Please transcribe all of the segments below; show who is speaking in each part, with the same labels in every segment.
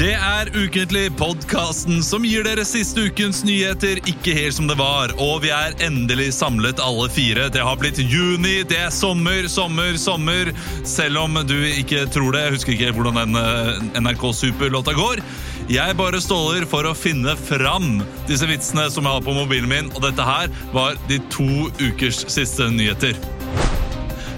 Speaker 1: Det er ukentlig podkasten som gir dere siste ukens nyheter ikke helt som det var. Og vi er endelig samlet alle fire. Det har blitt juni, det er sommer, sommer, sommer. Selv om du ikke tror det. Jeg husker ikke helt hvordan den eh, NRK Super-låta går. Jeg bare ståler for å finne fram disse vitsene som jeg har på mobilen min. Og dette her var de to ukers siste nyheter.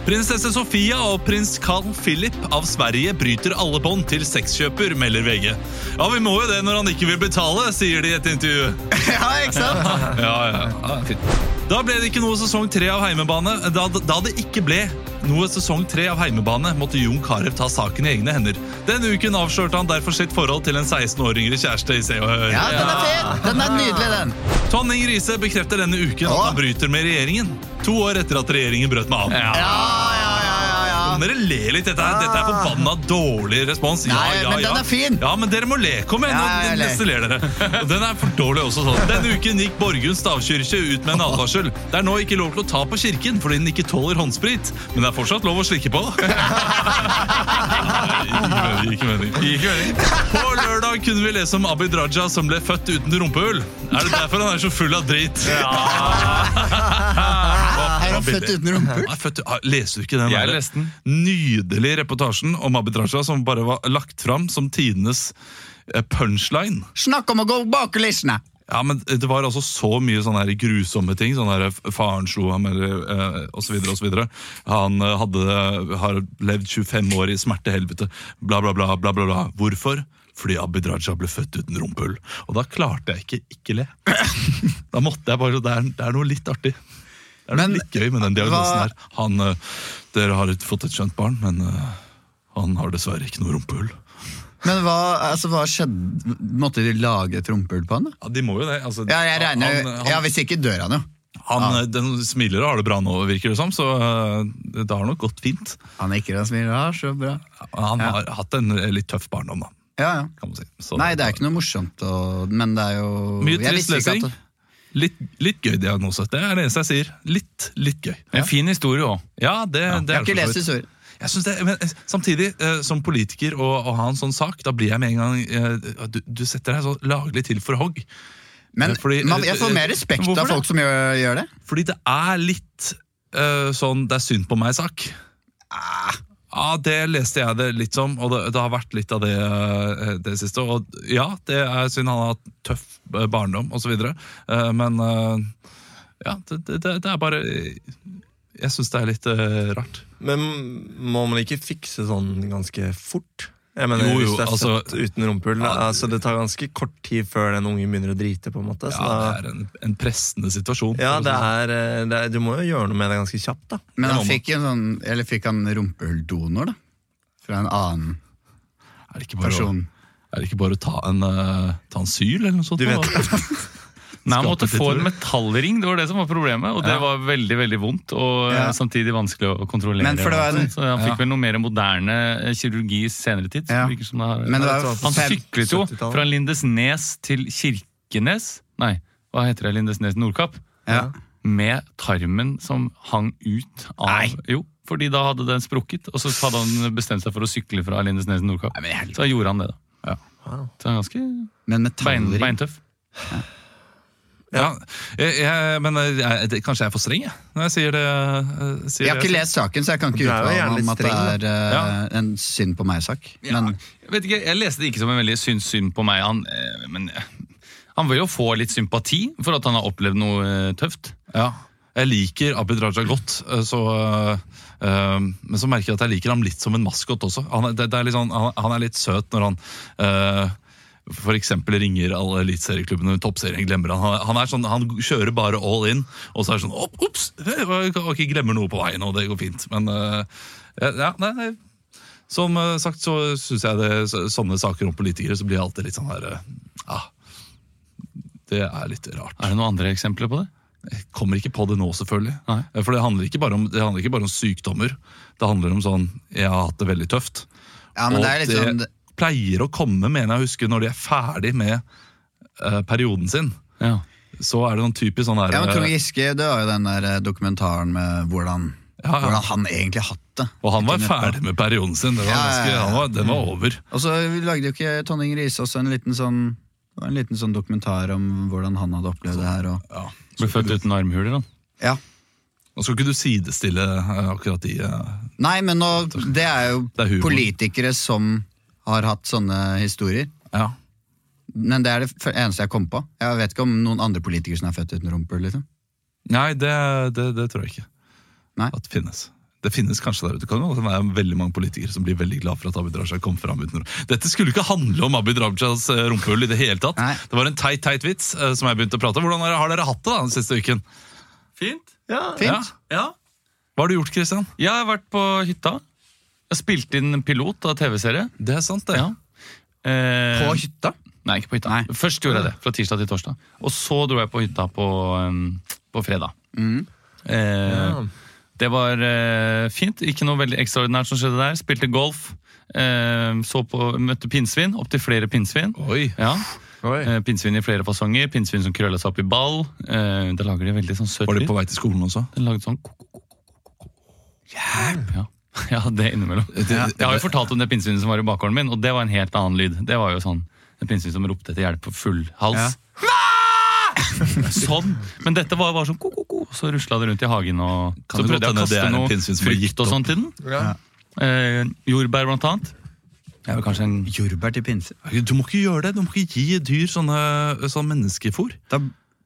Speaker 1: Prinsesse Sofia og prins Carl Philip av Sverige bryter alle bånd til sexkjøper, melder VG. Ja, vi må jo det når han ikke vil betale, sier de i et intervju.
Speaker 2: Ja, ikke sant?
Speaker 1: Ja, ja, ja, fint. Da ble det ikke noe sesong tre av Heimebane. Da, da det ikke ble noe sesong tre av Heimebane, måtte Jon Carew ta saken i egne hender. Denne uken avslørte han derfor sitt forhold til en 16 år yngre kjæreste i Se og Hør.
Speaker 2: Ja, den er fin! Den er nydelig, den.
Speaker 1: Tonning Riise bekrefter denne uken at
Speaker 2: Åh.
Speaker 1: han bryter med regjeringen. To år etter at regjeringen brøt med ham.
Speaker 2: Ja, ja, ja, ja, ja. Ah.
Speaker 1: Dere ler litt. Dette er, dette er forbanna dårlig respons. Ja,
Speaker 2: Nei,
Speaker 1: ja,
Speaker 2: men
Speaker 1: ja.
Speaker 2: den er fin.
Speaker 1: Ja, men dere må le. Kom igjen,
Speaker 2: Ja,
Speaker 1: nå-
Speaker 2: jeg ler.
Speaker 1: neste ler dere. Den er for dårlig også sånn. Denne uken gikk Borgund stavkirke ut med en advarsel. Det er nå ikke lov til å ta på kirken fordi den ikke tåler håndsprit, men det er fortsatt lov å slikke på. Nei, Ikke mening. Ikke mening. På lørdag kunne vi lese om Abid Raja som ble født uten rumpehull. Er det derfor han er så full av drit?
Speaker 2: Er han født uten rumpehull?
Speaker 1: Nei, født, ah, leser du ikke den?
Speaker 3: Jeg
Speaker 1: der?
Speaker 3: leste den.
Speaker 1: Nydelig reportasjen om Abid Raja som bare var lagt fram som tidenes eh, punchline.
Speaker 2: Snakk om å gå bak kulissene!
Speaker 1: Ja, men Det var altså så mye sånne her grusomme ting. sånn her, f- Faren slo ham, eller eh, osv. osv. Han eh, hadde, har levd 25 år i smertehelvete. Bla, bla, bla. bla, bla, bla. Hvorfor? Fordi Abid Raja ble født uten rumpehull. Og da klarte jeg ikke ikke le. Da måtte jeg bare, Det er, det er noe litt artig. Det er noe
Speaker 2: Men
Speaker 1: litt gøy med den diagnosen
Speaker 2: hva-
Speaker 1: her. Han, eh, Dere har ikke fått et skjønt barn, men eh, han har dessverre ikke noe rumpehull.
Speaker 2: Men hva, altså, hva skjedde? Måtte de lage et rumpehull på han? da?
Speaker 1: Ja, De må jo det. altså.
Speaker 2: Ja, jeg regner
Speaker 1: Han- han-
Speaker 2: Ja, Hvis ikke dør han jo.
Speaker 1: Han eh, den smiler og har det bra nå, virker det som, så eh, det har nok gått fint.
Speaker 2: Han er ikke den smiler, ja, så bra.
Speaker 1: Han har hatt en eh, litt tøff barndom, da.
Speaker 2: Ja, ja.
Speaker 1: Kan man si. Så,
Speaker 2: Nei, det er ikke noe morsomt, og, men det er jo
Speaker 1: Mye
Speaker 2: Jeg
Speaker 1: trist
Speaker 2: visste ikke
Speaker 1: lesing.
Speaker 2: at-
Speaker 1: Litt, litt gøy diagnose. Det er det eneste jeg sier. Litt, litt gøy.
Speaker 3: En fin historie òg.
Speaker 1: Ja, det, det
Speaker 2: Jeg
Speaker 1: er
Speaker 2: har ikke
Speaker 1: det for så
Speaker 2: lest
Speaker 1: vidt.
Speaker 2: historien.
Speaker 1: Jeg synes det, men eh, samtidig, eh, som politiker å å ha en sånn sak, da blir jeg med en gang eh, Du, du setter deg så laglig til for hogg.
Speaker 2: Men
Speaker 1: Eh, fordi-
Speaker 2: man, jeg får mer respekt
Speaker 1: Hvorfor
Speaker 2: av
Speaker 1: det?
Speaker 2: folk som gjør, gjør det.
Speaker 1: Fordi det er litt eh, sånn det er synd på meg-sak.
Speaker 3: Ah.
Speaker 1: Ja, Det leste jeg det litt som, og det, det har vært litt av det eh, det siste. Og ja, det er synd han har hatt tøff eh, barndom osv., men eh, ja, det, det, det er bare Jeg syns det er litt eh, rart.
Speaker 3: Men må man ikke fikse sånn ganske fort? Jeg mener,
Speaker 1: Jo, jo,
Speaker 3: hvis det er
Speaker 1: altså-
Speaker 3: født uten rumpehull altså, Det tar ganske kort tid før den ungen begynner å drite. på en måte
Speaker 1: Ja,
Speaker 3: så
Speaker 1: det
Speaker 3: da,
Speaker 1: er en, en pressende situasjon.
Speaker 3: ja,
Speaker 1: for å si
Speaker 3: det
Speaker 1: sånn.
Speaker 3: er, eh, det er, Du må jo gjøre noe med det ganske kjapt. da
Speaker 2: Men
Speaker 1: Det
Speaker 2: han
Speaker 1: må man.
Speaker 2: fikk, en sånn, eller fikk han rumpehulldonor, da? Fra en annen
Speaker 1: Er det ikke bare å-
Speaker 2: person.
Speaker 1: er det ikke bare å ta en, eh, ta en syl eller noe sånt?
Speaker 3: Du vet-
Speaker 1: da?
Speaker 3: Nei,
Speaker 1: Skape
Speaker 3: han
Speaker 1: måtte
Speaker 3: måtte
Speaker 1: få
Speaker 3: få
Speaker 1: en
Speaker 3: en metallring, det var det som var problemet. Og det var veldig veldig vondt, og eh,
Speaker 2: Ja.
Speaker 3: samtidig vanskelig å kontrollere.
Speaker 2: Men for det var- og sånt,
Speaker 3: så han
Speaker 2: fikk
Speaker 3: fikk
Speaker 2: ja.
Speaker 3: vel noe mer moderne eh, kirurgi senere tid.
Speaker 2: Ja. virker Men det var
Speaker 3: han
Speaker 2: fem-
Speaker 3: syklet jo
Speaker 4: 70-tallet.
Speaker 3: fra Lindesnes til Kirkenes, nei, hva heter det, Lindesnes Nordkapp,
Speaker 2: Ja.
Speaker 3: med tarmen som hang ut av Jo, fordi da hadde den sprukket, og så hadde han bestemt seg for å sykle fra Lindesnes til Nordkapp. Så gjorde han det, da. Så han er ganske
Speaker 2: Men
Speaker 3: bein,
Speaker 2: metallring.
Speaker 3: beintøff.
Speaker 1: Ja, jeg, jeg, men eh, jeg, det, kanskje jeg er for streng, jeg, når jeg sier det. eh, Sier
Speaker 2: Jeg har
Speaker 1: det
Speaker 2: ikke lest saken, så jeg kan ikke
Speaker 4: Du er jo
Speaker 2: uttale
Speaker 4: gjerne
Speaker 2: meg om
Speaker 4: litt
Speaker 2: at det
Speaker 4: streng,
Speaker 2: er eh, en synd på meg-sak. Men
Speaker 3: Jeg vet ikke, jeg leste det ikke som en veldig synd synd på meg. Han, eh, men eh, han vil jo få litt sympati for at han har opplevd noe eh, tøft.
Speaker 1: Ja. Jeg liker Abid Raja godt, eh, så, eh, eh, men så merker jeg at jeg liker ham litt som en maskot også. Han er, det, det er litt sånn, han, han er litt søt når han eh, for eksempel ringer alle eliteserieklubbene toppserien glemmer han. Han, er- han, er sånn, han kjører bare all in, og så er det sånn opp, Ops! Ok, glemmer noe på veien, og det går fint. Men eh, ja, nei, nei. Som eh, sagt så syns jeg det, så- sånne saker om politikere så blir jeg alltid litt sånn her eh, ah, Det er litt rart.
Speaker 3: Er det noen andre eksempler på det?
Speaker 1: Jeg kommer ikke på det nå, selvfølgelig. Eh,
Speaker 3: Nei.
Speaker 1: For det handler, ikke bare om, det handler ikke bare om sykdommer. Det handler om sånn Jeg har hatt det veldig tøft.
Speaker 2: Ja,
Speaker 1: og
Speaker 2: men det er litt sånn
Speaker 1: pleier å komme, mener jeg å huske, når de er ferdig med eh, perioden sin.
Speaker 3: Ja.
Speaker 1: Så er det noen typisk sånn der
Speaker 2: ja, men Trond
Speaker 1: eh,
Speaker 2: Giske det var jo den der eh, dokumentaren med hvordan,
Speaker 1: Ja, ja.
Speaker 2: hvordan han egentlig har hatt det.
Speaker 1: Og han var
Speaker 2: Etter nettopp.
Speaker 1: ferdig med perioden sin. Det var
Speaker 2: Ja, ja,
Speaker 1: ganske,
Speaker 2: ja.
Speaker 1: han var, den var over.
Speaker 2: Og så lagde jo ikke Tonning Riise også en liten sånn det var en liten sånn dokumentar om hvordan han hadde opplevd det her. Og,
Speaker 3: Ble født uten armhuler, han.
Speaker 2: ja.
Speaker 1: Nå skal ikke du sidestille eh, akkurat de eh,
Speaker 2: Nei, men nå, det er jo
Speaker 1: Det er humor.
Speaker 2: politikere som har hatt sånne historier.
Speaker 1: Ja.
Speaker 2: Men det er det f- eneste jeg kom på. Jeg vet ikke om noen andre politikere som er født uten rumpe. Liksom.
Speaker 1: Nei, det, det, det tror jeg ikke.
Speaker 2: Nei.
Speaker 1: At det finnes. Det finnes kanskje der ute. Kan det være veldig mange politikere som blir veldig glad for at Abid Raja kom fram uten Dette skulle ikke handle om Abid Rajas eh, rumpehull i det hele tatt.
Speaker 2: Nei.
Speaker 1: Det var en teit, teit vits eh, som jeg begynte å prate om. Hvordan har- har dere hatt det da, den siste uken?
Speaker 3: Fint.
Speaker 2: Fint.
Speaker 3: Ja.
Speaker 1: Hva har du gjort, Christian?
Speaker 3: Jeg har vært på hytta. Jeg spilte inn en pilot av TV-serie.
Speaker 1: Det er sant, det.
Speaker 3: Ja. Eh,
Speaker 1: hytta?
Speaker 3: Nei, ikke på hytta.
Speaker 2: Nei.
Speaker 3: Først gjorde jeg det, fra tirsdag til torsdag. Og så dro jeg på hytta på, um, på fredag.
Speaker 1: Mm.
Speaker 3: Eh, Det var eh, fint. Ikke noe veldig ekstraordinært som skjedde der. Spilte golf. Eh, så på, møtte pinnsvin. Opptil flere pinnsvin.
Speaker 1: Oi.
Speaker 3: Ja.
Speaker 5: Oi.
Speaker 3: Eh, pinnsvin i flere fasonger. Pinnsvin som krølla seg opp i ball. Eh, da lager de veldig sånn søt
Speaker 1: Var de
Speaker 3: lyd.
Speaker 1: på vei til skolen også?
Speaker 3: Den lagde sånn Ja. ja, det innimellom. Jeg har jo fortalt om det pinnsvinet som var i bakgården min, og det var en helt annen lyd. Det var jo sånn en pinnsvin som ropte etter hjelp på full hals. sånn! Men dette var bare sånn ko-ko-ko, så rusla det rundt i hagen. Og
Speaker 1: Kan
Speaker 3: så
Speaker 1: det godt
Speaker 3: prøvde jeg å
Speaker 1: hende det er
Speaker 3: kaste
Speaker 1: en
Speaker 3: noe
Speaker 1: pinnsvin som har gitt
Speaker 3: frukt og sånn til den.
Speaker 5: Ja.
Speaker 3: Eh, jordbær, blant annet. Det er vel kanskje en
Speaker 2: Jordbær til pinse.
Speaker 1: Du må ikke gjøre det. Du må ikke gi dyr sånne, sånn menneskefôr.
Speaker 2: Da,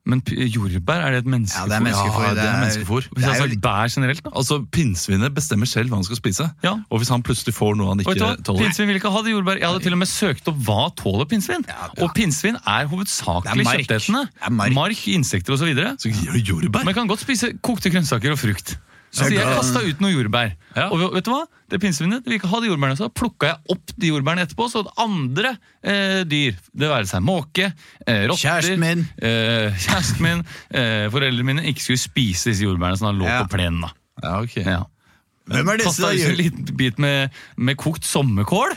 Speaker 3: Men p- jordbær, er det et menneskefôr?
Speaker 2: Ja, det er
Speaker 3: Ja,
Speaker 2: menneskefôr, det
Speaker 3: det er
Speaker 2: er-
Speaker 3: menneskefôr. Hvis
Speaker 2: det
Speaker 3: jeg
Speaker 2: er
Speaker 3: hadde
Speaker 2: jo
Speaker 3: sagt bær generelt, da.
Speaker 1: Altså, Pinnsvinet bestemmer selv hva han skal spise.
Speaker 3: Ja.
Speaker 1: Og hvis han plutselig får noe han
Speaker 3: Og vet du
Speaker 1: ikke
Speaker 3: hva?
Speaker 1: tåler
Speaker 3: Pinnsvin vil ikke ha det jordbær. Jeg hadde til og med søkt opp hva tåler pinnsvin. Og pinnsvin er
Speaker 2: Det
Speaker 3: hovedsakelig
Speaker 2: er mark.
Speaker 3: kjøttetende.
Speaker 2: Det er mark.
Speaker 3: insekter osv.
Speaker 1: Så gir du jordbær?
Speaker 3: Men kan godt spise kokte grønnsaker og frukt. Så jeg kasta ut noen jordbær.
Speaker 1: Ja.
Speaker 3: Og vet du hva? Det pinnsvinet det vil ikke ha de jordbærene. Så plukka jeg opp de jordbærene etterpå, så at andre eh, dyr, det være seg måke, eh, rotter
Speaker 2: Kjæresten min.
Speaker 3: eh, Kjæresten min, eh, foreldrene mine, ikke skulle spise disse jordbærene som da lå
Speaker 2: Ja.
Speaker 3: på plenen. da.
Speaker 1: Ja, ok.
Speaker 3: Ja.
Speaker 2: hvem er disse
Speaker 3: Kasta
Speaker 2: da?
Speaker 3: ut en
Speaker 2: Jord?
Speaker 3: liten bit med, med kokt sommerkål.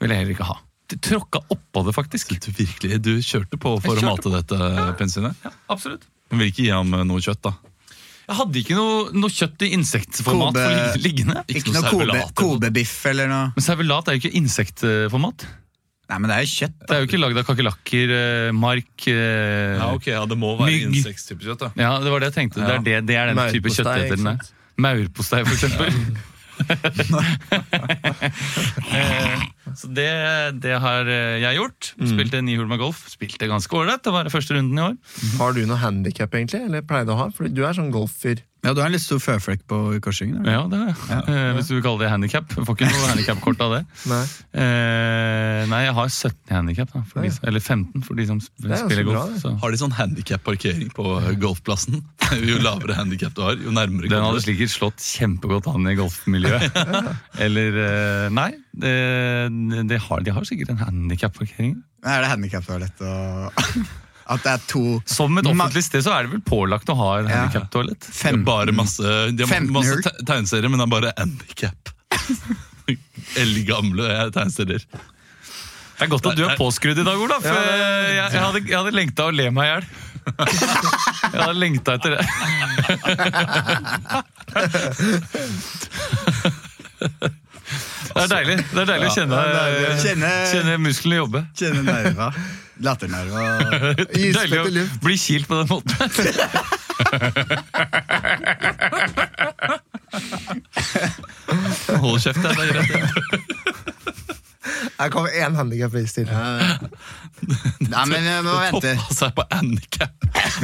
Speaker 3: Vil jeg heller ikke ha. Det Tråkka oppå det, faktisk.
Speaker 1: Du, virkelig, du kjørte på for
Speaker 3: Jeg
Speaker 1: å
Speaker 3: kjørte
Speaker 1: mate dette pinnsvinet?
Speaker 3: Ja, absolutt.
Speaker 1: Men vil ikke gi ham eh, noe kjøtt, da?
Speaker 3: Jeg hadde ikke noe, noe kjøtt i insektformat for
Speaker 2: Kobe-
Speaker 3: ligg- liggende.
Speaker 2: Ikke
Speaker 1: noe
Speaker 2: noe kobe,
Speaker 1: servelat eller noe.
Speaker 2: kobebiff eller noe?
Speaker 3: Men servelat er jo ikke insektformat.
Speaker 2: Nei, men det er jo kjøtt.
Speaker 3: Det er jo ikke lagd av kakerlakker, eh, mark eh, ja,
Speaker 1: Det må
Speaker 3: være
Speaker 1: insekttype kjøtt, da.
Speaker 3: det var det jeg tenkte. Det er, det, det er den type
Speaker 5: Maurpostei, ikke
Speaker 3: kjøtteter den er.
Speaker 5: sant?
Speaker 3: Maurpostei, for eksempel. Eh, Så det, det har eh, jeg gjort. Spilte ni hull med golf. Spilte ganske ålreit. Det var første runden i år.
Speaker 1: mhm.
Speaker 5: Har du noe handikap, egentlig? Eller pleier du å ha? For du er sånn golffyr.
Speaker 2: Ja, Du har en litt stor føflekk på korsryggen. eller?
Speaker 3: Ja, det har jeg. Eh, Hvis du vil kalle det handikap. Får ikke noe handikapkort av det.
Speaker 5: Nei.
Speaker 3: Eh, nei, jeg har 17 handikap. da, for de som- Eller 15 for de som sp-
Speaker 5: er jo så
Speaker 3: spiller
Speaker 5: bra,
Speaker 3: golf.
Speaker 5: det.
Speaker 3: Så.
Speaker 1: Har de sånn handikap-parkering på eh, golfplassen? Jo lavere handikap du har, jo nærmere
Speaker 3: Den
Speaker 1: kommer
Speaker 3: hadde
Speaker 1: du.
Speaker 3: sikkert slått kjempegodt an i golfmiljøet. Eller eh, Nei, det, det har, de har sikkert en handikapparkering.
Speaker 2: Er det handikaptoalett og At det er to
Speaker 3: Som et
Speaker 2: Ma-
Speaker 3: offentlig sted så er det vel pålagt å ha en
Speaker 2: Ja.
Speaker 3: handikaptoalett.
Speaker 1: Det er
Speaker 2: fem,
Speaker 1: Bare masse, de har
Speaker 2: 15
Speaker 1: masse
Speaker 2: hull.
Speaker 1: te- tegneserier, men det er bare handikap. Eldgamle eh, tegneserier.
Speaker 3: Det er godt at du er påskrudd i dag, Olaf. Eh, Jeg, jeg hadde, jeg hadde lengta å le meg i hjel. Jeg hadde lengta etter det. Det er deilig Det er deilig å kjenne,
Speaker 2: Kjenne,
Speaker 3: kjenne musklene jobbe.
Speaker 2: kjenne nerva. Latternerva.
Speaker 3: Deilig
Speaker 2: Isfette
Speaker 3: å
Speaker 2: luft.
Speaker 3: bli kilt på den måten.
Speaker 1: Hold kjeft, det er greit. det.
Speaker 5: Her kommer én handikap-list til.
Speaker 2: Nei, men eh, jeg må vente.
Speaker 1: Toppa seg på handikap.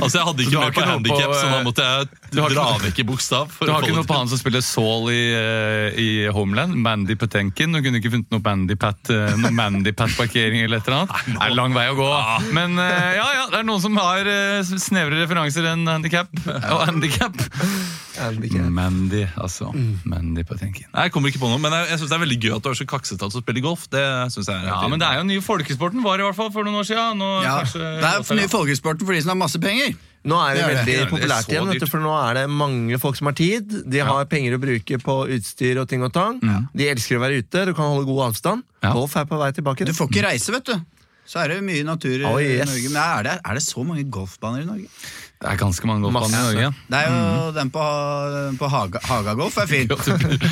Speaker 1: Altså, jeg
Speaker 3: Så du
Speaker 1: hadde ikke
Speaker 3: har
Speaker 1: med på
Speaker 3: ikke noe
Speaker 1: handikap,
Speaker 3: på,
Speaker 1: så da
Speaker 3: eh,
Speaker 1: måtte jeg
Speaker 3: har
Speaker 1: dra
Speaker 3: ikke noe-
Speaker 1: vekk i bokstav. for
Speaker 3: Du
Speaker 1: å
Speaker 3: har ikke
Speaker 1: få
Speaker 3: noe
Speaker 1: det
Speaker 3: på
Speaker 1: til.
Speaker 3: han som spiller Saul i, eh, i Homeland? Mandy Patenkin? Hun kunne ikke funnet noe Mandy Pat eh, Noe Mandy Pat-parkering eller et eller annet? Det er lang vei å gå.
Speaker 2: Ah.
Speaker 3: Men eh, ja, ja, det er noen som har eh, snevre referanser enn handikap. Og handikap.
Speaker 1: Mm.
Speaker 3: Mandy, altså. Mandy Patenkin.
Speaker 1: Nei, jeg kommer ikke på noe, men jeg, jeg synes det er veldig gøy at du er så kaksete at du spiller golf. Det synes jeg er
Speaker 3: Ja,
Speaker 1: helt
Speaker 3: men det er jo den nye folkesporten. Var i hvert fall for noen år siden. Nå,
Speaker 2: Ja,
Speaker 3: kanskje,
Speaker 2: det er for ny folkesporten for de som har masse penger.
Speaker 4: Nå er det
Speaker 2: Det er det.
Speaker 4: veldig
Speaker 1: Det er
Speaker 4: populært
Speaker 1: så
Speaker 4: igjen, vet du,
Speaker 1: dyrt.
Speaker 4: for nå er det mange folk som har tid. De har penger å bruke på utstyr og ting og tang. De elsker å være ute, du kan holde god avstand.
Speaker 3: Ja.
Speaker 4: Golf er på vei tilbake.
Speaker 2: Du får ikke reise, vet du. Så er det mye natur i
Speaker 4: Oh, yes.
Speaker 2: Norge. Men er det, er det så mange golfbaner i Norge?
Speaker 3: det er ganske mange golfbaner i
Speaker 4: Masse.
Speaker 3: Norge.
Speaker 2: Det er jo den på, den på Haga, Hagagolf er fin.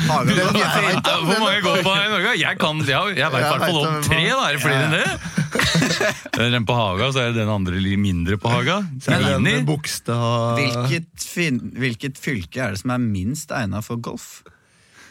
Speaker 2: Hagagolf er fin.
Speaker 3: Ja, Hvor mange golfbaner i Norge? Jeg kan, jeg, jeg vet i hvert fall om
Speaker 4: vet om-
Speaker 3: tre. da, Er det flere enn det? Det er Den på Haga, så er det den andre litt mindre på Haga.
Speaker 4: Det er
Speaker 3: Grini.
Speaker 4: den Bogstad
Speaker 2: Hvilket, fin, hvilket fylke er det som er minst egnet for golf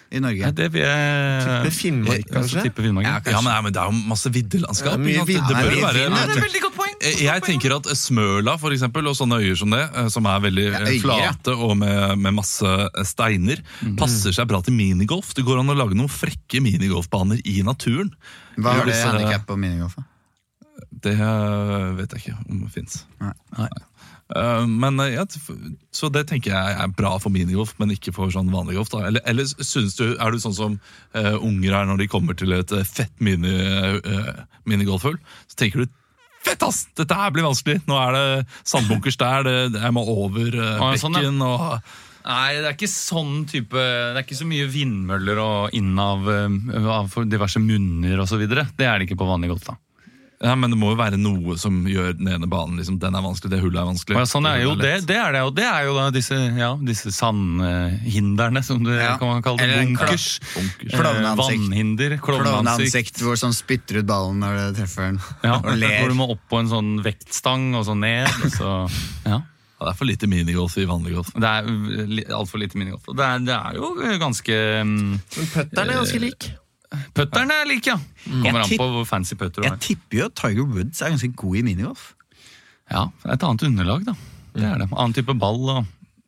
Speaker 2: i
Speaker 3: Ja,
Speaker 2: Norge?
Speaker 3: det vil
Speaker 4: Tippe
Speaker 3: jeg
Speaker 4: Finnmark,
Speaker 3: Jeg kan også
Speaker 4: kanskje?
Speaker 3: tippe Finnmark. Ja,
Speaker 1: Ja, men, nei, men det er jo masse viddelandskap.
Speaker 4: Det er mye
Speaker 1: ikke sant?
Speaker 4: vidde.
Speaker 1: det bør
Speaker 2: Det er mye
Speaker 1: være
Speaker 2: vidde. Ja, det er
Speaker 1: veldig godt poeng. Jeg tenker at Smøla for eksempel, og sånne øyer som det, eh, som er veldig eh,
Speaker 2: øyer, ja.
Speaker 1: flate og med, med masse eh, steiner, passer seg bra til minigolf. Det går an å lage noen frekke minigolfbaner i naturen.
Speaker 2: Hva
Speaker 1: Gjør
Speaker 2: er det
Speaker 1: disse-
Speaker 2: handikap på minigolf? da?
Speaker 1: Det eh, vet jeg ikke om det fins.
Speaker 2: Nei.
Speaker 1: Men eh, ja, t- f- Så det tenker jeg er bra for minigolf, men ikke for sånn vanlig golf. da Eller, eller synes du, er du sånn som eh, unger er når de kommer til et eh, fett mini, eh, minigolfhull? Så tenker du Fett, ass! Dette her blir vanskelig. Nå er det sandbunkers der, det, det- jeg må over eh,
Speaker 3: Å, ja, sånn, ja.
Speaker 1: bekken og
Speaker 3: Nei, det er ikke sånn type Det er ikke så mye vindmøller og inn av, eh, av for diverse munner osv. Det er det ikke på vanlig golf. da
Speaker 1: ja, Men det må jo være noe som gjør den ene banen liksom, Den er vanskelig, det hullet er vanskelig.
Speaker 3: Å, ja, sånn er jo
Speaker 1: hullet
Speaker 3: det,
Speaker 1: lett.
Speaker 3: det er det jo. Det er jo da disse, ja, disse sandhinderne, som det
Speaker 2: Ja.
Speaker 3: kan man kalle det.
Speaker 2: Eller en
Speaker 3: Bunkers.
Speaker 1: Bunkers.
Speaker 3: Eh,
Speaker 2: Klovneansikt.
Speaker 3: Vannhinder. Klovneansikt.
Speaker 2: Klovneansikt hvor sånn spytter ut ballen når du treffer den,
Speaker 3: Ja,
Speaker 2: og ler.
Speaker 3: hvor du må opp på en sånn vektstang og så ned. Og så, ja.
Speaker 1: Ja, det er for lite minigolf i vanlig golf.
Speaker 3: Det er altfor lite minigolf. Det er, det er jo ganske mm,
Speaker 4: Men putteren er
Speaker 2: Eh,
Speaker 4: ganske lik.
Speaker 3: Putteren er lik, ja. Kommer an
Speaker 2: tipp-
Speaker 3: på hvor fancy putter du
Speaker 2: Jeg
Speaker 3: har.
Speaker 2: tipper jo at Tiger Woods er ganske god i minigolf.
Speaker 3: Ja, det er et annet underlag, da. Det er det. Annen type ball og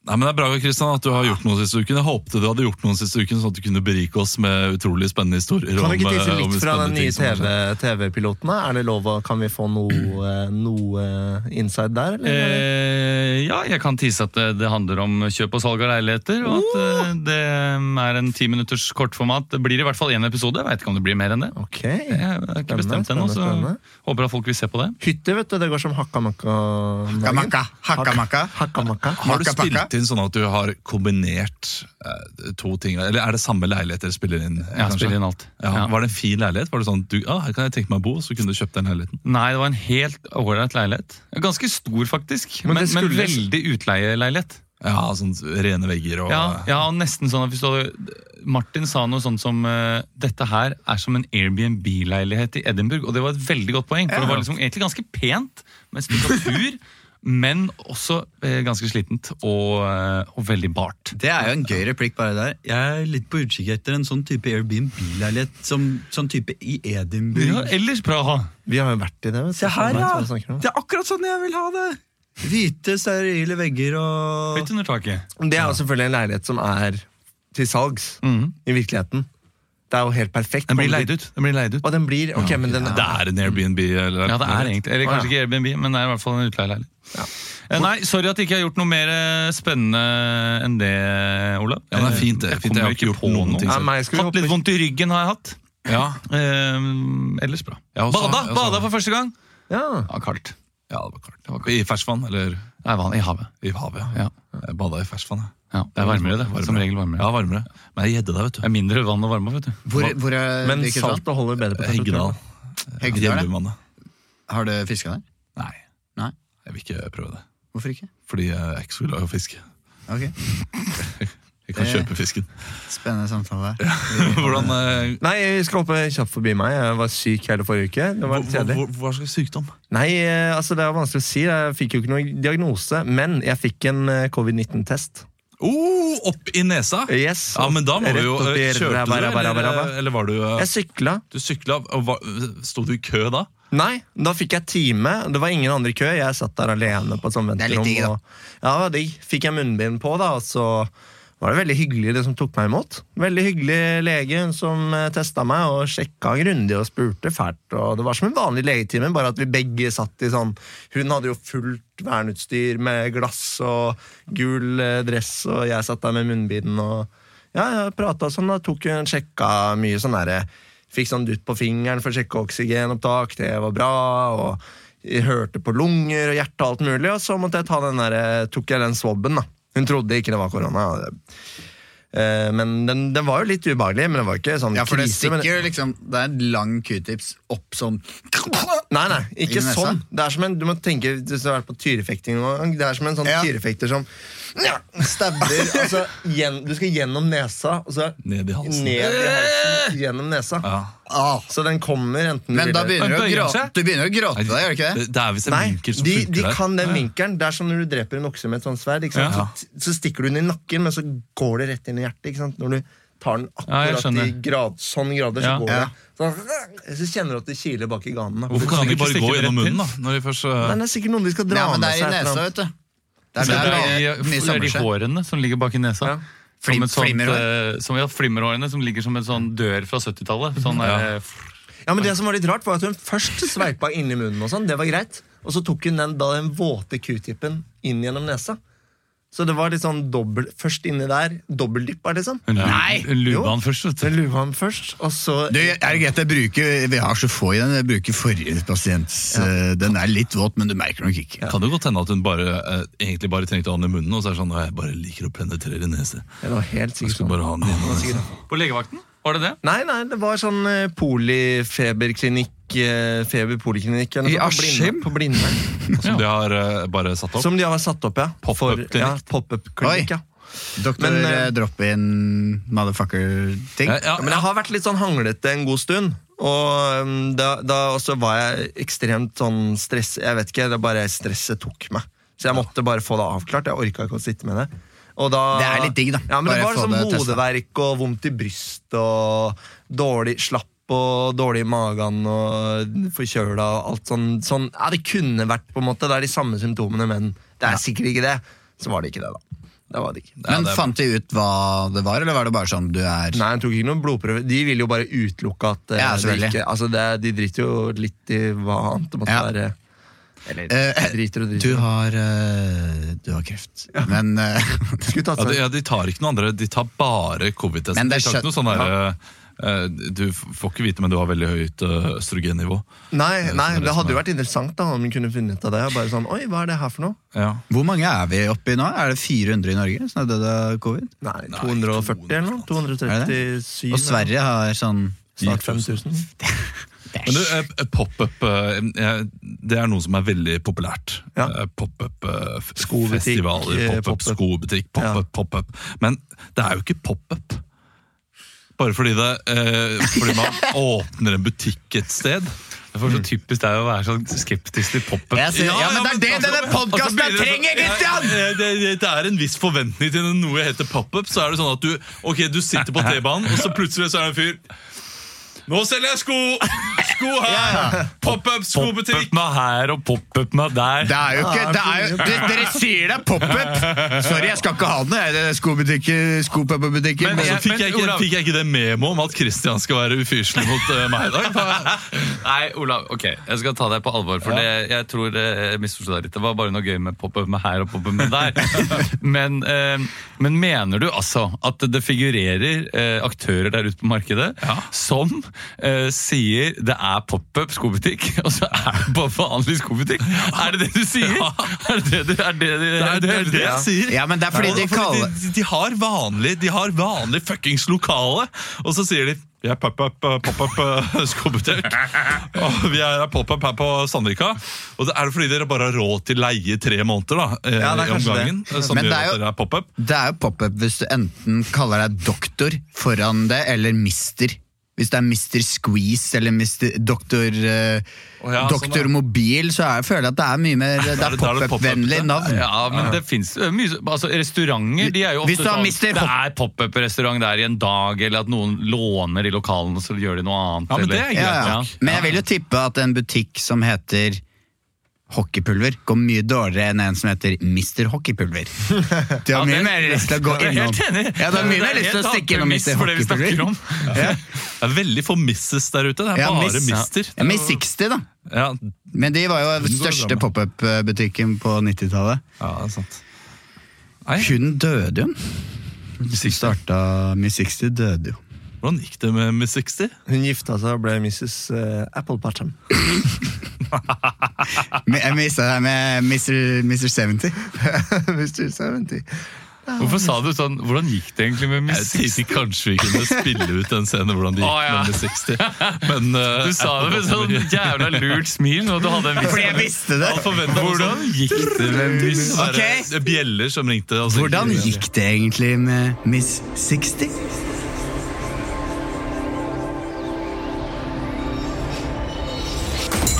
Speaker 1: Nei, men Det er bra Kristian, at du har gjort noe siste uken. Jeg håpte du hadde gjort noe siste uken, sånn at du kunne berike oss med utrolig spennende historier.
Speaker 4: Kan vi ikke
Speaker 1: om,
Speaker 4: tisse
Speaker 1: eh, om
Speaker 4: litt fra
Speaker 1: spennende
Speaker 4: den
Speaker 1: ting
Speaker 4: nye
Speaker 1: som har skjedd.
Speaker 4: TV TV-pilotene? Er det lov å Kan vi få noe, eh, noe eh, inside der, eller?
Speaker 3: Eh, ja, jeg kan tease at det, det handler om kjøp og salg av leiligheter. Og
Speaker 4: Oh!
Speaker 3: at eh, det er en ti minutters kortformat. Det blir i hvert fall én episode. Jeg vet ikke om det blir mer enn det.
Speaker 4: Ok.
Speaker 3: Jeg har ikke
Speaker 4: Spennende,
Speaker 3: bestemt ennå, så
Speaker 4: spennende,
Speaker 3: håper at folk vil se på det.
Speaker 4: Hytter, vet du. Det går som hakka makka.
Speaker 2: Hakamakka, hakamakka.
Speaker 4: Hakka makka.
Speaker 1: Har du
Speaker 2: Makka pakka?
Speaker 1: spilt inn sånn at du har kombinert eh, to ting? Eller er det samme leilighet dere spiller inn?
Speaker 3: Jeg
Speaker 1: kanskje?
Speaker 3: spiller inn alt.
Speaker 1: Ja.
Speaker 3: Ja.
Speaker 1: Var det en fin leilighet? Var det sånn, du, ah, her kan jeg tenke meg å bo, så kunne du kjøpt den leiligheten?
Speaker 3: Nei, det var en helt ålreit leilighet. Ganske stor, faktisk,
Speaker 4: Men
Speaker 3: men,
Speaker 4: det
Speaker 3: men,
Speaker 4: skulle-
Speaker 3: veldig utleieleilighet.
Speaker 1: Ja, sånn rene vegger og
Speaker 3: Ja, ja, og nesten sånn at hvis du hadde Martin sa noe sånt som eh, dette her er som en Airbnb-leilighet i Edinburgh, og det var et veldig godt poeng, for det var liksom egentlig ganske pent, med stukkatur, men også eh, ganske slitent og, eh, og veldig bart.
Speaker 2: Det er jo en gøy replikk, bare der. Jeg er litt på utkikk etter en sånn type Airbnb-leilighet. Som, sånn type i
Speaker 3: Ja,
Speaker 2: Edinburgh.
Speaker 3: ellers Praha.
Speaker 4: Vi har jo vært i det. vet du. Sånn er det som vi snakker om.
Speaker 2: Det er akkurat sånn jeg vil ha det! Hvite, sterile vegger og
Speaker 3: Høyt under taket.
Speaker 4: Det er jo selvfølgelig en leilighet som er til salgs i virkeligheten. Det er jo helt perfekt.
Speaker 1: Mm. Den blir leid ut. Den blir leid ut.
Speaker 4: Og den blir, ok, men den
Speaker 1: Det er en Airbnb. Eller,
Speaker 3: Ja, det er egentlig, eller kanskje ikke Airbnb, men det er i hvert fall en utleieleilighet. Eh, Nei, sorry at jeg ikke har gjort noe mer eh, spennende enn det, Olav.
Speaker 1: Ja, det er fint, det.
Speaker 3: Jeg
Speaker 1: Fint, jeg
Speaker 3: kommer
Speaker 1: har ikke
Speaker 3: ikke
Speaker 1: gjort
Speaker 3: på
Speaker 1: noen
Speaker 3: noe.
Speaker 1: ting.
Speaker 4: Nei,
Speaker 1: selv.
Speaker 4: meg skal vi
Speaker 3: Hatt litt
Speaker 4: hoppe
Speaker 3: vondt i ryggen har jeg hatt.
Speaker 1: Ja.
Speaker 3: Ehm, ellers bra.
Speaker 1: Ja, og så-
Speaker 3: bada
Speaker 1: ja, så-
Speaker 3: bada for første gang!
Speaker 4: ja.
Speaker 3: Ja, kaldt.
Speaker 1: Ja, det var klart. Det var klart. I ferskvann, eller
Speaker 3: Nei, vann i havet.
Speaker 1: i havet.
Speaker 3: Ja.
Speaker 1: Jeg bada i ferskvann, jeg.
Speaker 3: Ja, det er varmere, det.
Speaker 1: Varmere.
Speaker 3: Som regel varmere.
Speaker 1: Ja, varmere. Men jeg gjedde deg, vet du.
Speaker 3: Det er mindre vann og varme, vet du.
Speaker 2: Hvor, hvor er
Speaker 4: Men
Speaker 2: hvilket vann?
Speaker 4: saltet holder bedre på
Speaker 1: Heggedal.
Speaker 4: temperaturen.
Speaker 2: Heggedal, ja.
Speaker 1: Hjemmevannet.
Speaker 2: Har du fiska der?
Speaker 1: Nei,
Speaker 2: Nei?
Speaker 1: jeg vil ikke prøve det.
Speaker 2: Hvorfor ikke?
Speaker 1: Fordi eh, jeg er ikke så glad i å fiske.
Speaker 2: Ok,
Speaker 1: Jeg kan
Speaker 2: Det-
Speaker 1: kjøpe fisken.
Speaker 2: Spennende samtale her.
Speaker 1: Hvordan, eh,
Speaker 4: Nei, vi skal hoppe kjapt forbi meg. Jeg var syk hele forrige uke. Det var litt
Speaker 1: hva,
Speaker 4: kjedelig.
Speaker 1: hva, hva slags sykdom?
Speaker 4: Nei, eh, altså det er vanskelig å si. Jeg fikk jo ikke noen diagnose, men jeg fikk en eh, covid-19-test.
Speaker 1: Oh, opp i nesa!
Speaker 4: Yes.
Speaker 1: Ja, men da må du jo
Speaker 4: Rett opp i
Speaker 1: eh, Kjørte du,
Speaker 4: rabba, rabba, rabba, rabba.
Speaker 1: eller, eller var du eh,
Speaker 4: Jeg sykla.
Speaker 1: Du sykla, og var- sto du i kø da?
Speaker 4: Nei, da fikk jeg time. Det var ingen andre i kø. Jeg satt der alene på et sånt
Speaker 2: Det er litt
Speaker 4: venterom.
Speaker 2: digg, da.
Speaker 4: og- Ja, det var digg. Fikk jeg munnbind på, da, og så var det veldig hyggelig det som tok meg imot. Veldig hyggelig lege hun som testa meg og sjekka grundig og spurte fælt. Og det var som en vanlig legetime, bare at vi begge satt i sånn Hun hadde jo fullt verneutstyr med glass og gul eh, dress, og jeg satt der med munnbind og Ja, jeg prata sånn, da tok hun sjekka mye sånn derre Fikk sånn dutt på fingeren for å sjekke oksygenopptak, det var bra. og jeg Hørte på lunger og hjerte og alt mulig, og så måtte jeg ta den der, eh, tok jeg den swabben. da. Hun trodde ikke det var korona. og det- eh, Men den, den var jo litt ubehagelig, men det var ikke sånn
Speaker 2: Ja, for det
Speaker 4: krise. men-
Speaker 2: stikker liksom Det er en lang q-tips opp sånn
Speaker 4: Nei, nei, ikke
Speaker 2: I nesa?
Speaker 4: sånn. Det er som en, du må tenke, Hvis du har vært på tyrefekting noen gang, det er som en sånn
Speaker 2: Ja.
Speaker 4: tyrefekter som ja, stabber altså, gjen, Du skal gjennom nesa, og så
Speaker 3: Ned i halsen.
Speaker 4: Ned i halsen gjennom nesa.
Speaker 2: ah.
Speaker 4: Så den kommer enten du
Speaker 2: Eh! Men
Speaker 4: vil
Speaker 2: da
Speaker 4: eller-
Speaker 2: begynner du å
Speaker 3: Men bøyer
Speaker 2: gråte.
Speaker 3: seg?
Speaker 2: Du begynner å gråte da, gjør du ikke det?
Speaker 3: Det, det er visst en
Speaker 4: Nei,
Speaker 3: vinkel som
Speaker 4: de,
Speaker 3: funker
Speaker 4: de
Speaker 3: der.
Speaker 4: kan den vinkelen. Det er som når du dreper en okse med et sånt sverd. Ikke sant?
Speaker 3: Ja.
Speaker 4: Så, så stikker du den i nakken, men så går det rett inn i hjertet. Ikke sant? Når du tar den
Speaker 3: Ja, jeg
Speaker 4: akkurat i
Speaker 3: skjønner.
Speaker 4: grad, sånn grader, så
Speaker 3: Ja.
Speaker 4: går
Speaker 2: Ja.
Speaker 4: det. Så, så kjenner du at det kiler bak i ganen. da.
Speaker 3: Hvorfor kan de ikke bare gå
Speaker 1: stikke det
Speaker 3: gjennom
Speaker 1: rett
Speaker 3: munnen, da? Når de først,
Speaker 4: Men
Speaker 3: uh,
Speaker 4: det er sikkert noen de skal dra
Speaker 2: Ja, men
Speaker 4: med
Speaker 2: det
Speaker 4: seg.
Speaker 2: er i
Speaker 4: et
Speaker 2: nesa,
Speaker 4: eller annet.
Speaker 2: vet du. Det
Speaker 3: det
Speaker 2: er der
Speaker 3: er de,
Speaker 2: mye
Speaker 3: det er
Speaker 2: samler
Speaker 3: de
Speaker 2: seg.
Speaker 3: hårene som ligger bak i nesa.
Speaker 4: Ja.
Speaker 3: Som
Speaker 2: Flim-
Speaker 3: et sånt,
Speaker 2: flimmerhår?
Speaker 3: eh, som, ja, flimmerhårene som ligger som en sånn dør fra 70-tallet. Sånn, eh, f-
Speaker 4: Ja, men det som var litt rart, var at hun først sveipa inn i munnen, og sånn, det var greit. Og så tok hun den, da, den våte q-tippen inn gjennom nesa. Så det var litt sånn dobbel, først inni der, dobbeldyppa, liksom.
Speaker 3: hun,
Speaker 2: Nei!
Speaker 3: hun
Speaker 4: Jo.
Speaker 3: luba han først, vet
Speaker 4: Så
Speaker 3: du.
Speaker 4: lua han først, og så
Speaker 2: Du, er det greit jeg bruker Vi har så få igjen. Jeg bruker forrige pasients eh, Den er litt våt, men du merker nok ikke.
Speaker 1: Kan det godt hende at hun bare, eh, egentlig bare trengte å ha den i munnen, og så er det sånn «Nei, jeg bare liker å penetrere nese.
Speaker 4: Det var helt
Speaker 1: Jeg
Speaker 4: sikkert
Speaker 1: skal bare ha den gjennom nesa.
Speaker 3: På legevakten? Var det det?
Speaker 4: Nei, nei, det var sånn eh, polifeberklinikk eh, Feberpoliklinikk eller noe
Speaker 2: I
Speaker 4: sånt, på Blinde- På
Speaker 2: Askim?
Speaker 4: Blinde.
Speaker 1: Som de har eh, bare satt opp.
Speaker 4: Som de har satt opp, ja.
Speaker 1: Pop-up
Speaker 4: For-
Speaker 1: klinikk.
Speaker 4: Ja, Pop-up-klinikk,
Speaker 2: Oi.
Speaker 4: ja.
Speaker 2: Doktor
Speaker 4: Men, eh,
Speaker 2: eh, drop-in motherfucker-ting.
Speaker 1: Ja, ja,
Speaker 4: Men jeg har vært litt sånn hanglete en god stund. Og um, da, da også var jeg ekstremt sånn stress... Jeg vet ikke, det er bare stresset tok meg. Så jeg måtte bare få det avklart. Jeg orka ikke å sitte med det. Og da,
Speaker 2: Det er litt digg, da.
Speaker 4: Ja, men det
Speaker 2: Bare
Speaker 4: var
Speaker 2: få
Speaker 4: sånn
Speaker 2: det testet.
Speaker 4: hodeverk og vondt i brystet og dårlig slapp og dårlig i magen og forkjøla og alt sånn, sånn. Ja, det kunne vært på en måte. Det er de samme symptomene, men det er sikkert ikke det. Så var det ikke det, da. Det var det ikke.
Speaker 2: Men fant de ut hva det var, eller var det bare sånn du er
Speaker 4: Nei, han tok ikke noen blodprøve. De ville jo bare utelukke at eh,
Speaker 2: Ja,
Speaker 4: det
Speaker 2: selvfølgelig.
Speaker 4: ikke, altså det, De driter jo litt i hva annet det måtte
Speaker 2: Ja.
Speaker 4: være.
Speaker 2: Eh,
Speaker 4: Eller driter og
Speaker 2: Du
Speaker 4: driter.
Speaker 2: har eh, Du har kreft. Men, eh,
Speaker 4: Skulle tatt
Speaker 1: Ja, de,
Speaker 4: seg
Speaker 1: ja, de tar ikke noen andre, de tar bare covid-testen.
Speaker 2: Men
Speaker 1: De
Speaker 2: det
Speaker 1: tar ikke noe
Speaker 2: skjøn-
Speaker 1: sånn der, eh, Du f- får ikke vite, men du har veldig høyt eh, østrogennivå.
Speaker 4: Nei, nei,
Speaker 1: som
Speaker 4: det
Speaker 1: er
Speaker 4: sånn hadde jo
Speaker 1: det
Speaker 4: vært interessant da om hun kunne funnet ut av det. Bare sånn, oi, hva er det her for noe?
Speaker 1: Ja.
Speaker 2: hvor mange er vi oppe i nå? Er det 400 i Norge som er dødd av covid?
Speaker 4: Nei, 240 eller noe?
Speaker 2: Er det
Speaker 4: 237.
Speaker 2: Og Sverige har sånn
Speaker 4: Snart 5000.
Speaker 1: Men du, eh, eh, pop-up eh, eh, Det er noe som er veldig populært.
Speaker 4: Ja.
Speaker 1: Eh, Pop-up eh, f-
Speaker 4: Skobutikk,
Speaker 1: festivaler,
Speaker 4: eh,
Speaker 1: pop-up
Speaker 4: pop-up.
Speaker 1: skobutikk, pop-up, pop-up. Men det er jo ikke pop-up. Bare fordi, det, eh, fordi man åpner en butikk et sted.
Speaker 3: Det er så typisk deg å være sånn skeptisk til pop-up.
Speaker 2: Jeg ser- ja, men det er det
Speaker 1: altså,
Speaker 2: denne podcasten trenger, Christian!
Speaker 1: Ja, ja, Det, det, det er en viss forventning til når noe heter pop-up. Så er det sånn at du, ok, du sitter på T-banen, og så plutselig så er det en fyr Nå selger jeg sko! Sko her! Pop-up, skobutikk!
Speaker 3: Pop-up meg her og pop-up meg der.
Speaker 2: Det er jo ikke det er jo, dere, dere sier det er pop-up! Sorry, jeg skal ikke ha den. jeg. Det er skobutikker- Skopop-butikker.
Speaker 1: Men så
Speaker 2: Men-
Speaker 1: fikk jeg, ikke,
Speaker 3: Olav-
Speaker 1: fikk jeg ikke det memo om at Christian skal være ufyselig mot eh, meg i dag.
Speaker 3: Nei, Olav, ok, jeg skal ta deg på alvor, for det, jeg tror eh, jeg misforstod deg litt. Det var bare noe gøy med pop-up med her og pop-up med der. men, eh, men mener du altså at det figurerer eh, aktører der ute på markedet som eh, sier det er pop-up skobutikk, og så er det bare vanlig skobutikk? Er det det du sier? Er det det du er det, det,
Speaker 1: Det er det, det
Speaker 3: ja.
Speaker 1: jeg sier.
Speaker 2: Ja, men det er fordi de
Speaker 1: Og-
Speaker 2: kaller
Speaker 1: de, de har vanlig De har vanlig fuckings lokale, og så sier de vi er pop-up pop skobutikk. Og vi er pop-up her på Sandvika. Og det er det fordi dere bare har råd til leie i tre måneder da, eh,
Speaker 4: Ja, det er
Speaker 1: i
Speaker 4: kanskje
Speaker 1: omgangen? eh, Som
Speaker 2: Men
Speaker 1: gjør
Speaker 2: det er jo-
Speaker 1: at dere er pop-up.
Speaker 2: Det er jo pop-up hvis du enten kaller deg doktor foran det, eller mister Hvis det er Mr. Squeeze eller Mr. Doktor, eh,
Speaker 3: Å ja, sånn,
Speaker 2: Doktor
Speaker 3: ja.
Speaker 2: Mobil, så er, føler jeg at det er mye mer Det
Speaker 3: Da da
Speaker 2: er
Speaker 3: det
Speaker 2: pop-up-vennlig
Speaker 3: pop-up,
Speaker 2: navn.
Speaker 3: Ja, men det finnes jo mye altså, Restauranter de er jo
Speaker 2: Hvis
Speaker 3: ofte
Speaker 2: du har
Speaker 3: sånn
Speaker 2: Mr.
Speaker 3: Det
Speaker 2: Hop-
Speaker 3: er pop-up-restaurant der i en dag, eller at noen låner i lokalene, så gjør de noe annet.
Speaker 1: Ja, men det er
Speaker 3: eller-
Speaker 2: Ja, ja.
Speaker 3: Ja.
Speaker 2: Men jeg vil jo tippe at en butikk som heter Hockeypulver går mye dårligere enn en som heter Mr. Hockeypulver. Du
Speaker 3: Ja,
Speaker 2: har mye
Speaker 3: det-
Speaker 2: mer lyst til å gå
Speaker 3: Jeg er
Speaker 2: innom.
Speaker 3: helt enig.
Speaker 2: Ja, du har mye
Speaker 3: Det er
Speaker 2: mer lyst til å
Speaker 3: helt
Speaker 2: stikke innom
Speaker 3: annet
Speaker 2: Mr.
Speaker 3: premiss for det vi snakker
Speaker 2: Hockeypulver.
Speaker 3: om. Det er veldig få misses der ute. Det er
Speaker 2: Ja,
Speaker 3: bare
Speaker 2: miss-
Speaker 3: mister.
Speaker 2: Ja, Miss 60, da.
Speaker 3: Ja,
Speaker 2: Men de var jo den
Speaker 1: går
Speaker 2: største
Speaker 1: drama.
Speaker 2: pop-up-butikken på 90-tallet.
Speaker 3: ja, det er sant. Nei,
Speaker 2: Hun døde jo. Hun starta Miss 60 døde jo.
Speaker 3: hvordan gikk det med Miss 60?
Speaker 4: Hun gifta seg og ble Mrs. eh, Applepartum.
Speaker 2: Men Jeg mista det her med Mr. 70.
Speaker 4: Mr. 70.
Speaker 3: Hvorfor sa du sånn? Hvordan gikk det egentlig med Miss 60?
Speaker 1: tenkte kanskje vi kunne spille ut den scenen hvordan det gikk
Speaker 3: Å, ja.
Speaker 1: med Miss 60. Men, eh,
Speaker 3: Du sa det med sånn jævla lurt smil. Og du hadde en viss
Speaker 2: Fordi jeg visste det!
Speaker 3: Han forventet noe sånn.
Speaker 1: Hvordan gikk det
Speaker 2: Hvem-
Speaker 1: med Miss
Speaker 2: Ok.
Speaker 1: Det er Bjeller som ringte. altså. og så-
Speaker 2: Hvordan gikk det egentlig med Miss 60?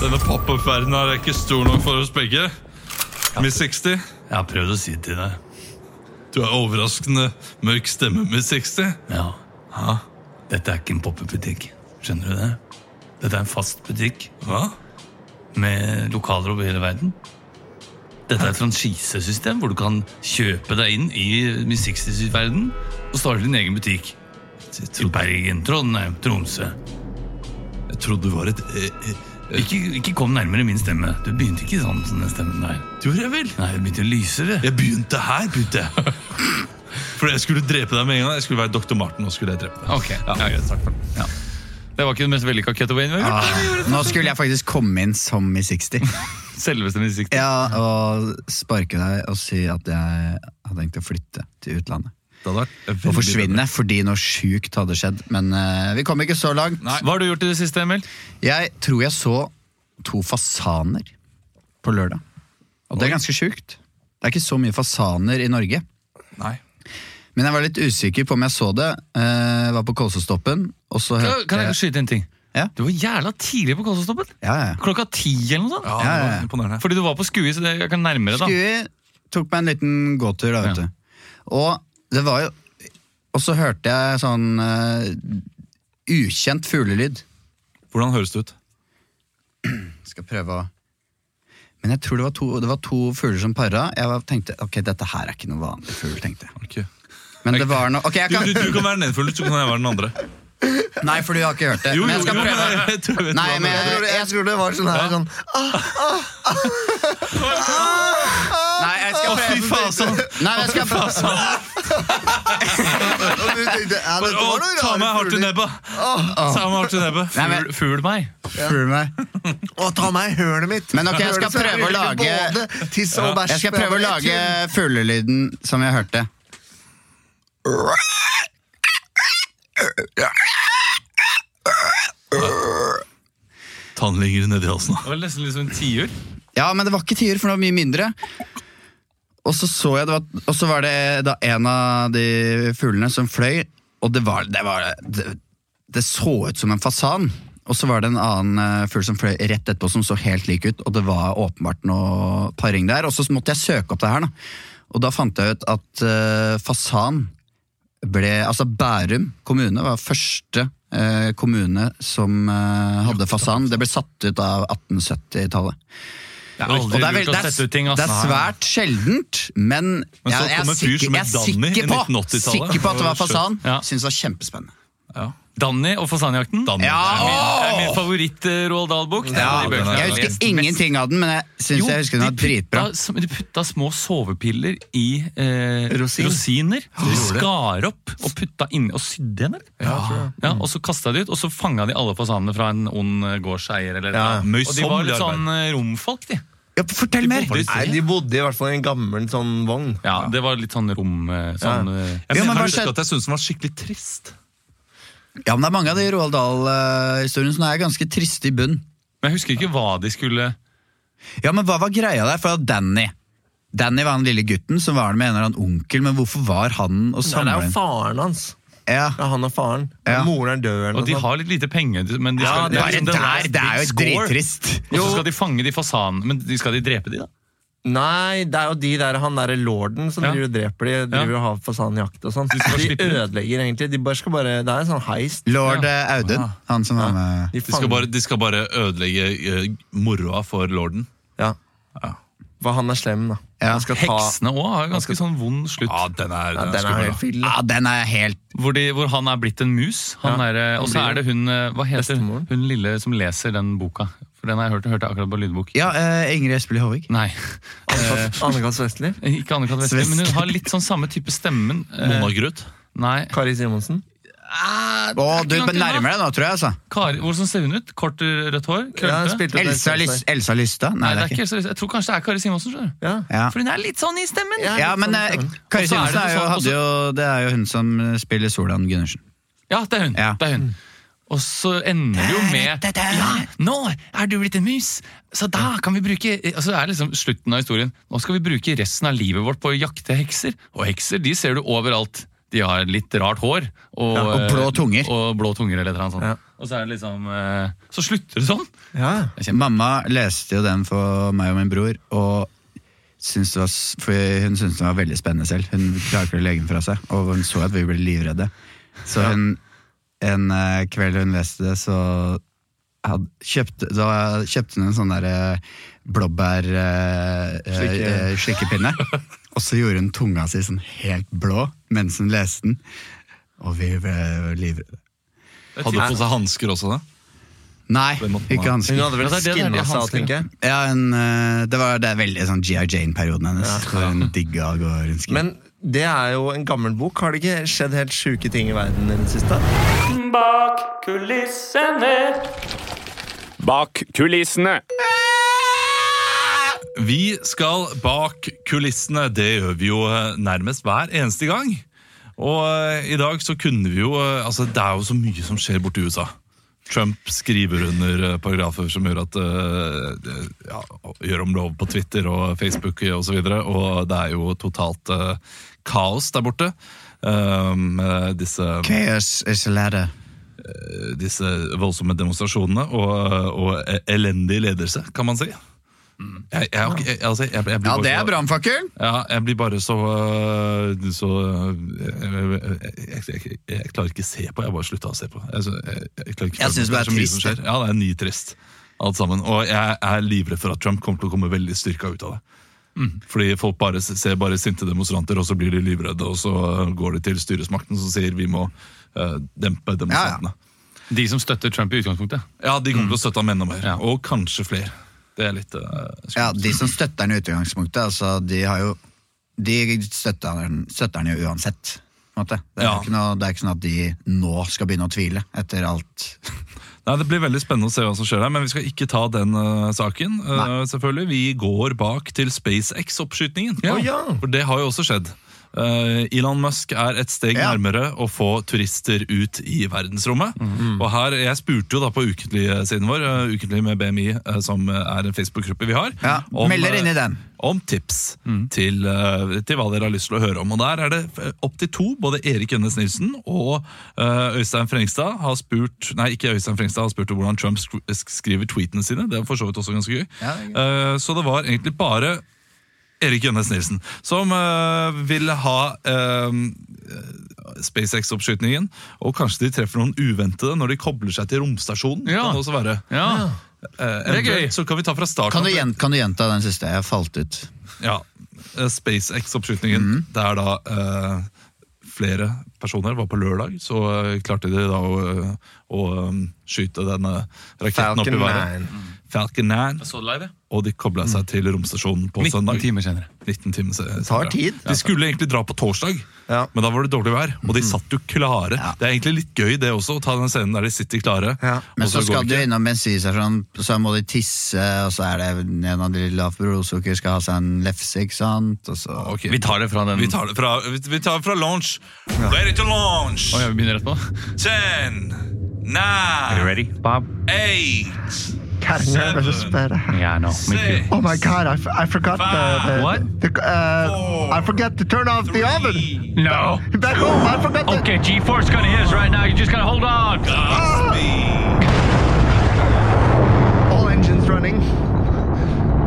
Speaker 1: Denne pop-up-verdenen her er ikke stor nok for oss begge. Miss 60,
Speaker 3: Jeg har prøvd å si til deg.
Speaker 1: du er overraskende mørk stemme, Miss 60.
Speaker 3: Ja. Dette er ikke en pop-up-butikk. Skjønner du det? Dette er en fast butikk
Speaker 1: Hva?
Speaker 3: med lokaler over hele verden. Dette er et franchisesystem hvor du kan kjøpe deg inn i Miss 60-verden og starte din egen butikk.
Speaker 1: Jeg
Speaker 3: Til
Speaker 1: trodde,
Speaker 3: Bergen, Trondheim, Tromsø.
Speaker 1: jeg trodde du var et eh, eh,
Speaker 3: Ikke, ikke kom nærmere min stemme. Du begynte ikke sånn som den stemmen der.
Speaker 1: Gjorde jeg vel?
Speaker 3: Nei, det begynte lysere.
Speaker 1: Jeg begynte her, begynte jeg. For jeg skulle drepe deg med en gang. Jeg skulle være Dr. Martin, og skulle jeg drepe deg.
Speaker 3: Ok, ja, greit, takk for det. Ja. Det var ikke den mest vellykka cutaway-en vi har gjort.
Speaker 2: Ah, nå skulle jeg faktisk komme inn som Miss 60.
Speaker 3: Selveste Miss 60.
Speaker 2: Ja, og sparke deg og si at jeg har tenkt å flytte til utlandet.
Speaker 1: Det hadde vært veldig
Speaker 2: Og forsvinne fordi noe sjukt hadde skjedd. Men eh, vi kom ikke så langt.
Speaker 3: Hva har du gjort i det siste, Emil?
Speaker 2: Jeg tror jeg så to fasaner på lørdag. Og det er ganske sjukt. Det er ikke så mye fasaner i Norge.
Speaker 1: Nei.
Speaker 2: Men jeg var litt usikker på om jeg så det. Eh, var på Kolsåstoppen, og så hørte
Speaker 3: Kan jeg skyte inn en ting?
Speaker 2: Ja.
Speaker 3: Du var jævla tidlig på Kolsåstoppen.
Speaker 2: Ja, ja.
Speaker 3: Klokka ti eller noe sånt.
Speaker 1: Ja,
Speaker 2: Ja,
Speaker 1: det
Speaker 2: ja,
Speaker 1: var
Speaker 2: ja.
Speaker 1: imponerende.
Speaker 3: Fordi du var på skue, så det, jeg kan nærme det da.
Speaker 2: Skui tok meg en liten gåtur, da, vet
Speaker 3: Ja.
Speaker 2: du. Og det var jo Og så hørte jeg sånn eh, ukjent fuglelyd.
Speaker 1: Hvordan høres det ut?
Speaker 2: Skal prøve å Men jeg tror det var to, det var to fugler som para. Jeg var, tenkte ok, dette her er ikke noe vanlig fugl, tenkte jeg.
Speaker 1: Ok.
Speaker 2: Men det var noe Ok, jeg
Speaker 1: Du, du, du
Speaker 2: kan
Speaker 1: kan være den ene fuglen, så kan jeg være den andre.
Speaker 2: Nei, for du har ikke hørt det. Men jeg skal
Speaker 1: men
Speaker 2: prøve.
Speaker 1: jeg- jeg tror jeg vet
Speaker 2: Nei,
Speaker 1: hva det
Speaker 2: men
Speaker 1: er.
Speaker 4: Jeg tror, det- jeg tror det var sånn her sånn
Speaker 2: Nei, jeg skal
Speaker 1: Å, fy
Speaker 2: prøve.
Speaker 1: faen, sånn.
Speaker 2: Nei, men jeg skal prøve.
Speaker 4: og du tenkte, ja, dette
Speaker 1: Å,
Speaker 4: var noen
Speaker 1: ta
Speaker 4: rare
Speaker 1: meg hardt i
Speaker 4: fugler.
Speaker 1: nebba! Ta meg hardt i nebba.
Speaker 2: Nei, men-
Speaker 3: Fugl- Fugl meg.
Speaker 2: Fugl meg.
Speaker 4: Å, ta meg i hølet mitt!
Speaker 2: Men ok, jeg
Speaker 4: Hølet
Speaker 2: skal
Speaker 4: som
Speaker 2: prøve å
Speaker 4: ødelegger
Speaker 2: lage-
Speaker 4: både tiss og bæsj.
Speaker 2: Jeg skal prøve å lage fuglelyden som jeg hørte.
Speaker 1: Tann ligger nedi halsen.
Speaker 3: Det var nesten litt som en tiur.
Speaker 2: Ja, men det var ikke tiur, for det var mye mindre. Og så så jeg det var, og så var det da en av de fuglene som fløy, og det var Det, var, det, det så ut som en fasan. Og så var det en annen eh, fugl som fløy rett etterpå som så helt lik ut, og det var åpenbart noe paring der. Og så måtte jeg søke opp det her, da. Og da fant jeg ut at eh, fasan ble Altså Bærum kommune var første eh, kommune som eh, hadde fasan. Det ble satt ut av 1870-tallet.
Speaker 3: Det er aldri
Speaker 2: Og det er, vel-
Speaker 3: lurt å
Speaker 2: det, er,
Speaker 3: sette ut ting. ass.
Speaker 2: det er svært sjeldent, men,
Speaker 1: Men så
Speaker 2: jeg,
Speaker 1: kom
Speaker 2: jeg er
Speaker 1: en fyr
Speaker 2: sikker,
Speaker 1: som
Speaker 2: jeg
Speaker 1: het
Speaker 2: er
Speaker 1: Danny i
Speaker 2: sikker på,
Speaker 1: 1980-tallet.
Speaker 2: sikker på at det var
Speaker 1: Det var
Speaker 2: fasan.
Speaker 3: Ja.
Speaker 2: Syns det var kjempespennende.
Speaker 3: Danny og fasanjakten.
Speaker 1: Danny.
Speaker 2: Ja,
Speaker 3: Det er min, det er min
Speaker 2: åh!
Speaker 3: favoritt eh, Roald Dahl-bok. Det er
Speaker 1: Ja,
Speaker 3: de bøkene
Speaker 1: den er-
Speaker 3: jeg har
Speaker 2: Jeg
Speaker 3: lest
Speaker 2: husker
Speaker 3: mest.
Speaker 2: ingenting av den, men jeg syns
Speaker 3: Jo,
Speaker 2: jeg husker den var
Speaker 3: de
Speaker 2: dritbra.
Speaker 3: putta sm- De putta små sovepiller i eh,
Speaker 4: Rosin.
Speaker 3: rosiner. Så De
Speaker 1: gjorde det.
Speaker 3: skar opp og putta inni og sydde igjen. eller? Ja, og så kasta de ut, og så fanga de alle fasanene fra en ond eh, gårdseier. Eller,
Speaker 4: Ja,
Speaker 3: og de var
Speaker 1: møysommelig
Speaker 3: litt sånn eh, romfolk, de.
Speaker 2: Ja, fortell mer!
Speaker 3: Bodde i
Speaker 4: Nei,
Speaker 3: stedet.
Speaker 4: de bodde i hvert fall i en gammel sånn vogn.
Speaker 3: Ja, det var litt sånn rom... eh, Sånn, eh,
Speaker 1: Jeg,
Speaker 2: Ja, men hva
Speaker 1: mener, husker
Speaker 2: skjedde-
Speaker 1: at jeg syntes den var skikkelig trist.
Speaker 2: Ja, men Det er mange av de Roald Dahl-historiene som er ganske triste i bunn.
Speaker 3: Men jeg husker ikke hva de skulle
Speaker 2: Ja, men Hva var greia der? For at Danny Danny var den lille gutten som var med en eller annen onkel, men hvorfor var han
Speaker 4: Nei,
Speaker 2: og
Speaker 4: det er
Speaker 2: samla
Speaker 4: jo
Speaker 2: inn
Speaker 4: faren hans.
Speaker 2: Ja.
Speaker 4: Det er han og faren.
Speaker 2: Ja.
Speaker 4: Moren er sånn. død. eller
Speaker 3: Og de
Speaker 4: noe sånt.
Speaker 3: har litt lite penger, men de skal,
Speaker 4: Ja, det er
Speaker 3: liksom,
Speaker 2: Bare
Speaker 3: den
Speaker 2: der! Det er jo
Speaker 3: big score.
Speaker 2: drittrist.
Speaker 3: Og så skal de fange de fasanene. Men de- skal de drepe de, da?
Speaker 4: Nei, det er jo de der, han derre lorden som
Speaker 3: Ja.
Speaker 4: driver og dreper de, driver
Speaker 3: Ja.
Speaker 4: og har fasanjakt og sånn.
Speaker 3: skal
Speaker 4: De
Speaker 3: slippe ut.
Speaker 4: ødelegger egentlig. De bare skal bare, det er en sånn heist.
Speaker 2: Lord eh, Audun, han som var med
Speaker 4: De
Speaker 3: De skal
Speaker 4: fanger-
Speaker 3: bare, de skal bare ødelegge eh, moroa for lorden.
Speaker 4: Ja. For han er slem, da.
Speaker 2: Ja.
Speaker 4: Han skal ta
Speaker 3: Heksene òg har jo ganske sånn vond slutt.
Speaker 1: Ja, den er,
Speaker 4: ja, Den
Speaker 1: den er
Speaker 4: er
Speaker 1: skummel.
Speaker 4: helt vill.
Speaker 2: Ja, den er helt
Speaker 3: Hvor, de, hvor han er blitt en mus. Han er, eh, og så er det hun eh, Hva heter hun,
Speaker 4: Bestemoren.
Speaker 3: hun lille som leser den boka? For den har jeg hørt, hørte jeg akkurat på lydbok.
Speaker 2: Ja, eh, Ingrid Espelid Håvik.
Speaker 3: Nei,
Speaker 4: Anne-Kat. Vestli.
Speaker 3: ikke Anne-Kat. Vestli, men hun har litt sånn samme type stemmen. Eh,
Speaker 1: Mona Grøt.
Speaker 3: Nei,
Speaker 4: Kari Simonsen.
Speaker 2: Å,
Speaker 3: det er ikke langt
Speaker 2: du
Speaker 3: unna.
Speaker 2: nærmer deg nå, tror jeg. altså
Speaker 3: Kari, Hvordan ser hun ut? Kort, eh, rødt hår?
Speaker 4: Ja,
Speaker 3: Krøllete?
Speaker 4: spilte ut
Speaker 2: Elsa,
Speaker 4: det-
Speaker 2: Lys Elsa Lystad? Nei,
Speaker 3: Nei, det er ikke Elsa Lise. Jeg tror kanskje det er Kari Simonsen. skjønner du?
Speaker 4: Ja.
Speaker 2: Ja.
Speaker 3: For hun er litt sånn i stemmen.
Speaker 4: Ja.
Speaker 2: ja, men eh,
Speaker 3: Og så er det
Speaker 2: Kari Simonsen er jo,
Speaker 3: sånn- og så-
Speaker 2: hadde jo, det er jo hun som eh, spiller Solan Gundersen.
Speaker 3: Ja, det er hun.
Speaker 2: Ja.
Speaker 3: Det er hun.
Speaker 4: Mm.
Speaker 3: Og så ender det jo med Ja, nå er du blitt en mus, så da kan vi bruke Og så er det liksom slutten av historien. Nå skal vi bruke resten av livet vårt på å jakte hekser. Og hekser de ser du overalt. De har litt rart hår. Og, eh,
Speaker 2: og blå tunger.
Speaker 3: Og blå tunger eller et eller annet sånt.
Speaker 4: Ja.
Speaker 3: Og så er det liksom eh, Så slutter det sånn.
Speaker 4: Ja.
Speaker 2: Mamma leste jo den for meg og min bror, og syntes det var, s- for hun syntes den var veldig spennende selv. Hun klarer ikke å legge den fra seg, og hun så at vi ble livredde. Så hun, en eh, kveld hun leste det, så hadde, kjøpte, da kjøpte hun en sånn der eh, blåbær eh,
Speaker 4: Slikke-
Speaker 2: eh, slikkepinne, og så gjorde hun tunga si sånn helt blå mens hun leste den, og vi ble livredde.
Speaker 1: Hadde på seg hansker også, da.
Speaker 2: Nei,
Speaker 1: Den måten
Speaker 2: ikke
Speaker 1: man-
Speaker 2: hansker.
Speaker 4: Hun hadde vel
Speaker 3: Ja, det er det der de
Speaker 4: skinna seg av,
Speaker 3: hansker.
Speaker 4: tenker jeg.
Speaker 2: Ja, en, eh, det var det er veldig sånn G.I. Jane-perioden hennes. Hvor hun digga å gå rundt skritt.
Speaker 4: Men det er jo en gammel bok. Har det ikke skjedd helt sjuke ting i verden i det siste?
Speaker 6: Bak kulissene. Bak kulissene.
Speaker 1: Vi skal bak kulissene. Det gjør vi jo eh, nærmest hver eneste gang. Og eh, i dag så kunne vi jo eh, Altså, det er jo så mye som skjer borti USA. Trump skriver under eh, paragrafer som gjør at eh, det- ja, Gjør om lov på Twitter og Facebook osv. Og, så videre, og det er jo totalt eh, kaos der borte. eh, med disse
Speaker 2: Chaos is a ladder.
Speaker 1: disse voldsomme demonstrasjonene og, eh, og e-, elendig ledelse, kan man si. Jeg, jeg, har ikke- jeg, altså, jeg, jeg blir
Speaker 2: Mm. Ja,
Speaker 1: bare
Speaker 2: det
Speaker 1: så-
Speaker 2: er brannfakkel!
Speaker 1: Ja, jeg blir bare så øh, Så øh, jeg, jeg, jeg, jeg klarer ikke å se på. Jeg bare slutta å se på. Jeg, jeg, jeg, klarer ikke
Speaker 2: Jeg synes det er
Speaker 1: så mye
Speaker 2: trist,
Speaker 1: som skjer. Ja, det er nitrist, alt sammen. Og jeg er livredd for at Trump kommer til å komme veldig styrka ut av det.
Speaker 2: Mm.
Speaker 1: Fordi folk bare s- ser bare sinte demonstranter, og så blir de livredde, og så øh, går de til styresmakten som sier vi må øh, dempe demonstrantene.
Speaker 3: De som støtter Trump i utgangspunktet.
Speaker 1: Ja, de
Speaker 2: Mm.
Speaker 1: kommer til å støtte ham enda mer.
Speaker 3: Ja.
Speaker 1: Og kanskje flere. Det er litt eh, skummelt.
Speaker 2: Ja, De som støtter han i utgangspunktet, altså, de har jo De støtter han, støtter han jo uansett. på en måte. Det er,
Speaker 1: Ja.
Speaker 2: jo ikke noe, det er ikke sånn at de nå skal begynne å tvile etter alt.
Speaker 1: Nei, Det blir veldig spennende å se hva som skjer der, men vi skal ikke ta den eh, saken. eh, selvfølgelig. Vi går bak til SpaceX-oppskytingen.
Speaker 4: Å, ja.
Speaker 1: For det har jo også skjedd. Eh, Elon Musk er et steg
Speaker 2: Ja.
Speaker 1: nærmere å få turister ut i verdensrommet. Og her, Jeg spurte jo da på ukentlig-siden vår, eh, ukentlig med BMI, eh, som er en Facebook-gruppe vi har,
Speaker 2: Ja, meld dere
Speaker 1: eh,
Speaker 2: inn i den. Mm.
Speaker 1: om tips til, eh, til hva dere har lyst til å høre om. Og Der er det opptil to. Både Erik Ønnes Nilsen og eh, Øystein Frengstad har spurt Nei, ikke Øystein Frengstad har spurt om hvordan Trump sk- skriver tweetene sine. Det er for så vidt også ganske gøy.
Speaker 2: Ja, det
Speaker 1: Eh, så det var egentlig bare Erik Jønnes Nilsen, som eh, vil ha eh, SpaceX-oppskytningen. Og kanskje de treffer noen uventede når de kobler seg til romstasjonen.
Speaker 3: Ja.
Speaker 1: Kan det også være.
Speaker 3: Ja.
Speaker 1: Eh,
Speaker 3: Det er gøy.
Speaker 1: eventuelt Så kan vi ta fra starten.
Speaker 2: Kan du, gjen- kan du gjenta den siste? Jeg falt ut.
Speaker 1: Ja, eh, SpaceX-oppskytningen.
Speaker 4: Mm.
Speaker 1: Det er da eh, flere personer var på lørdag, så eh, klarte de da å, å eh, skyte denne raketten opp
Speaker 4: Falcon
Speaker 1: i været.
Speaker 4: 9.
Speaker 1: Falcon 9.
Speaker 3: Så det live?
Speaker 1: Og de kobla
Speaker 4: Mm.
Speaker 1: seg til romstasjonen på
Speaker 3: 19
Speaker 1: søndag.
Speaker 3: timer senere.
Speaker 1: 19 timer se- senere.
Speaker 2: tar tid.
Speaker 1: De skulle egentlig dra på torsdag,
Speaker 4: Ja. Mm.
Speaker 1: men da var det dårlig vær. Og de satt jo klare. Det er egentlig litt gøy det også, å ta den scenen der de sitter klare.
Speaker 4: Ja.
Speaker 1: og
Speaker 2: Men så
Speaker 1: går
Speaker 2: skal
Speaker 1: det
Speaker 2: du
Speaker 1: ikke.
Speaker 2: innom bensinstasjonen, så må de tisse, og så er det en av de lav for blodsukker, skal ha seg en lefse, ikke sant? Og så
Speaker 1: Ok.
Speaker 3: Vi tar det fra den.
Speaker 1: Vi tar det fra, vi- vi tar det fra launch. Ready to launch!
Speaker 3: Å, ja, vi begynner rett på.
Speaker 1: Ten, nine,
Speaker 3: Ready, Bob?
Speaker 1: eight,
Speaker 7: getting nervous, but. Uh,
Speaker 6: Yeah, I know. Me too.
Speaker 7: Oh my god, I, f- I forgot the. the
Speaker 6: What? Oh.
Speaker 7: The, uh, I forgot to turn off the oven.
Speaker 6: No.
Speaker 7: Back home, I forgot the.
Speaker 6: Okay, G4's gonna hit us right now. You just gotta hold on. Oh.
Speaker 7: All engines running.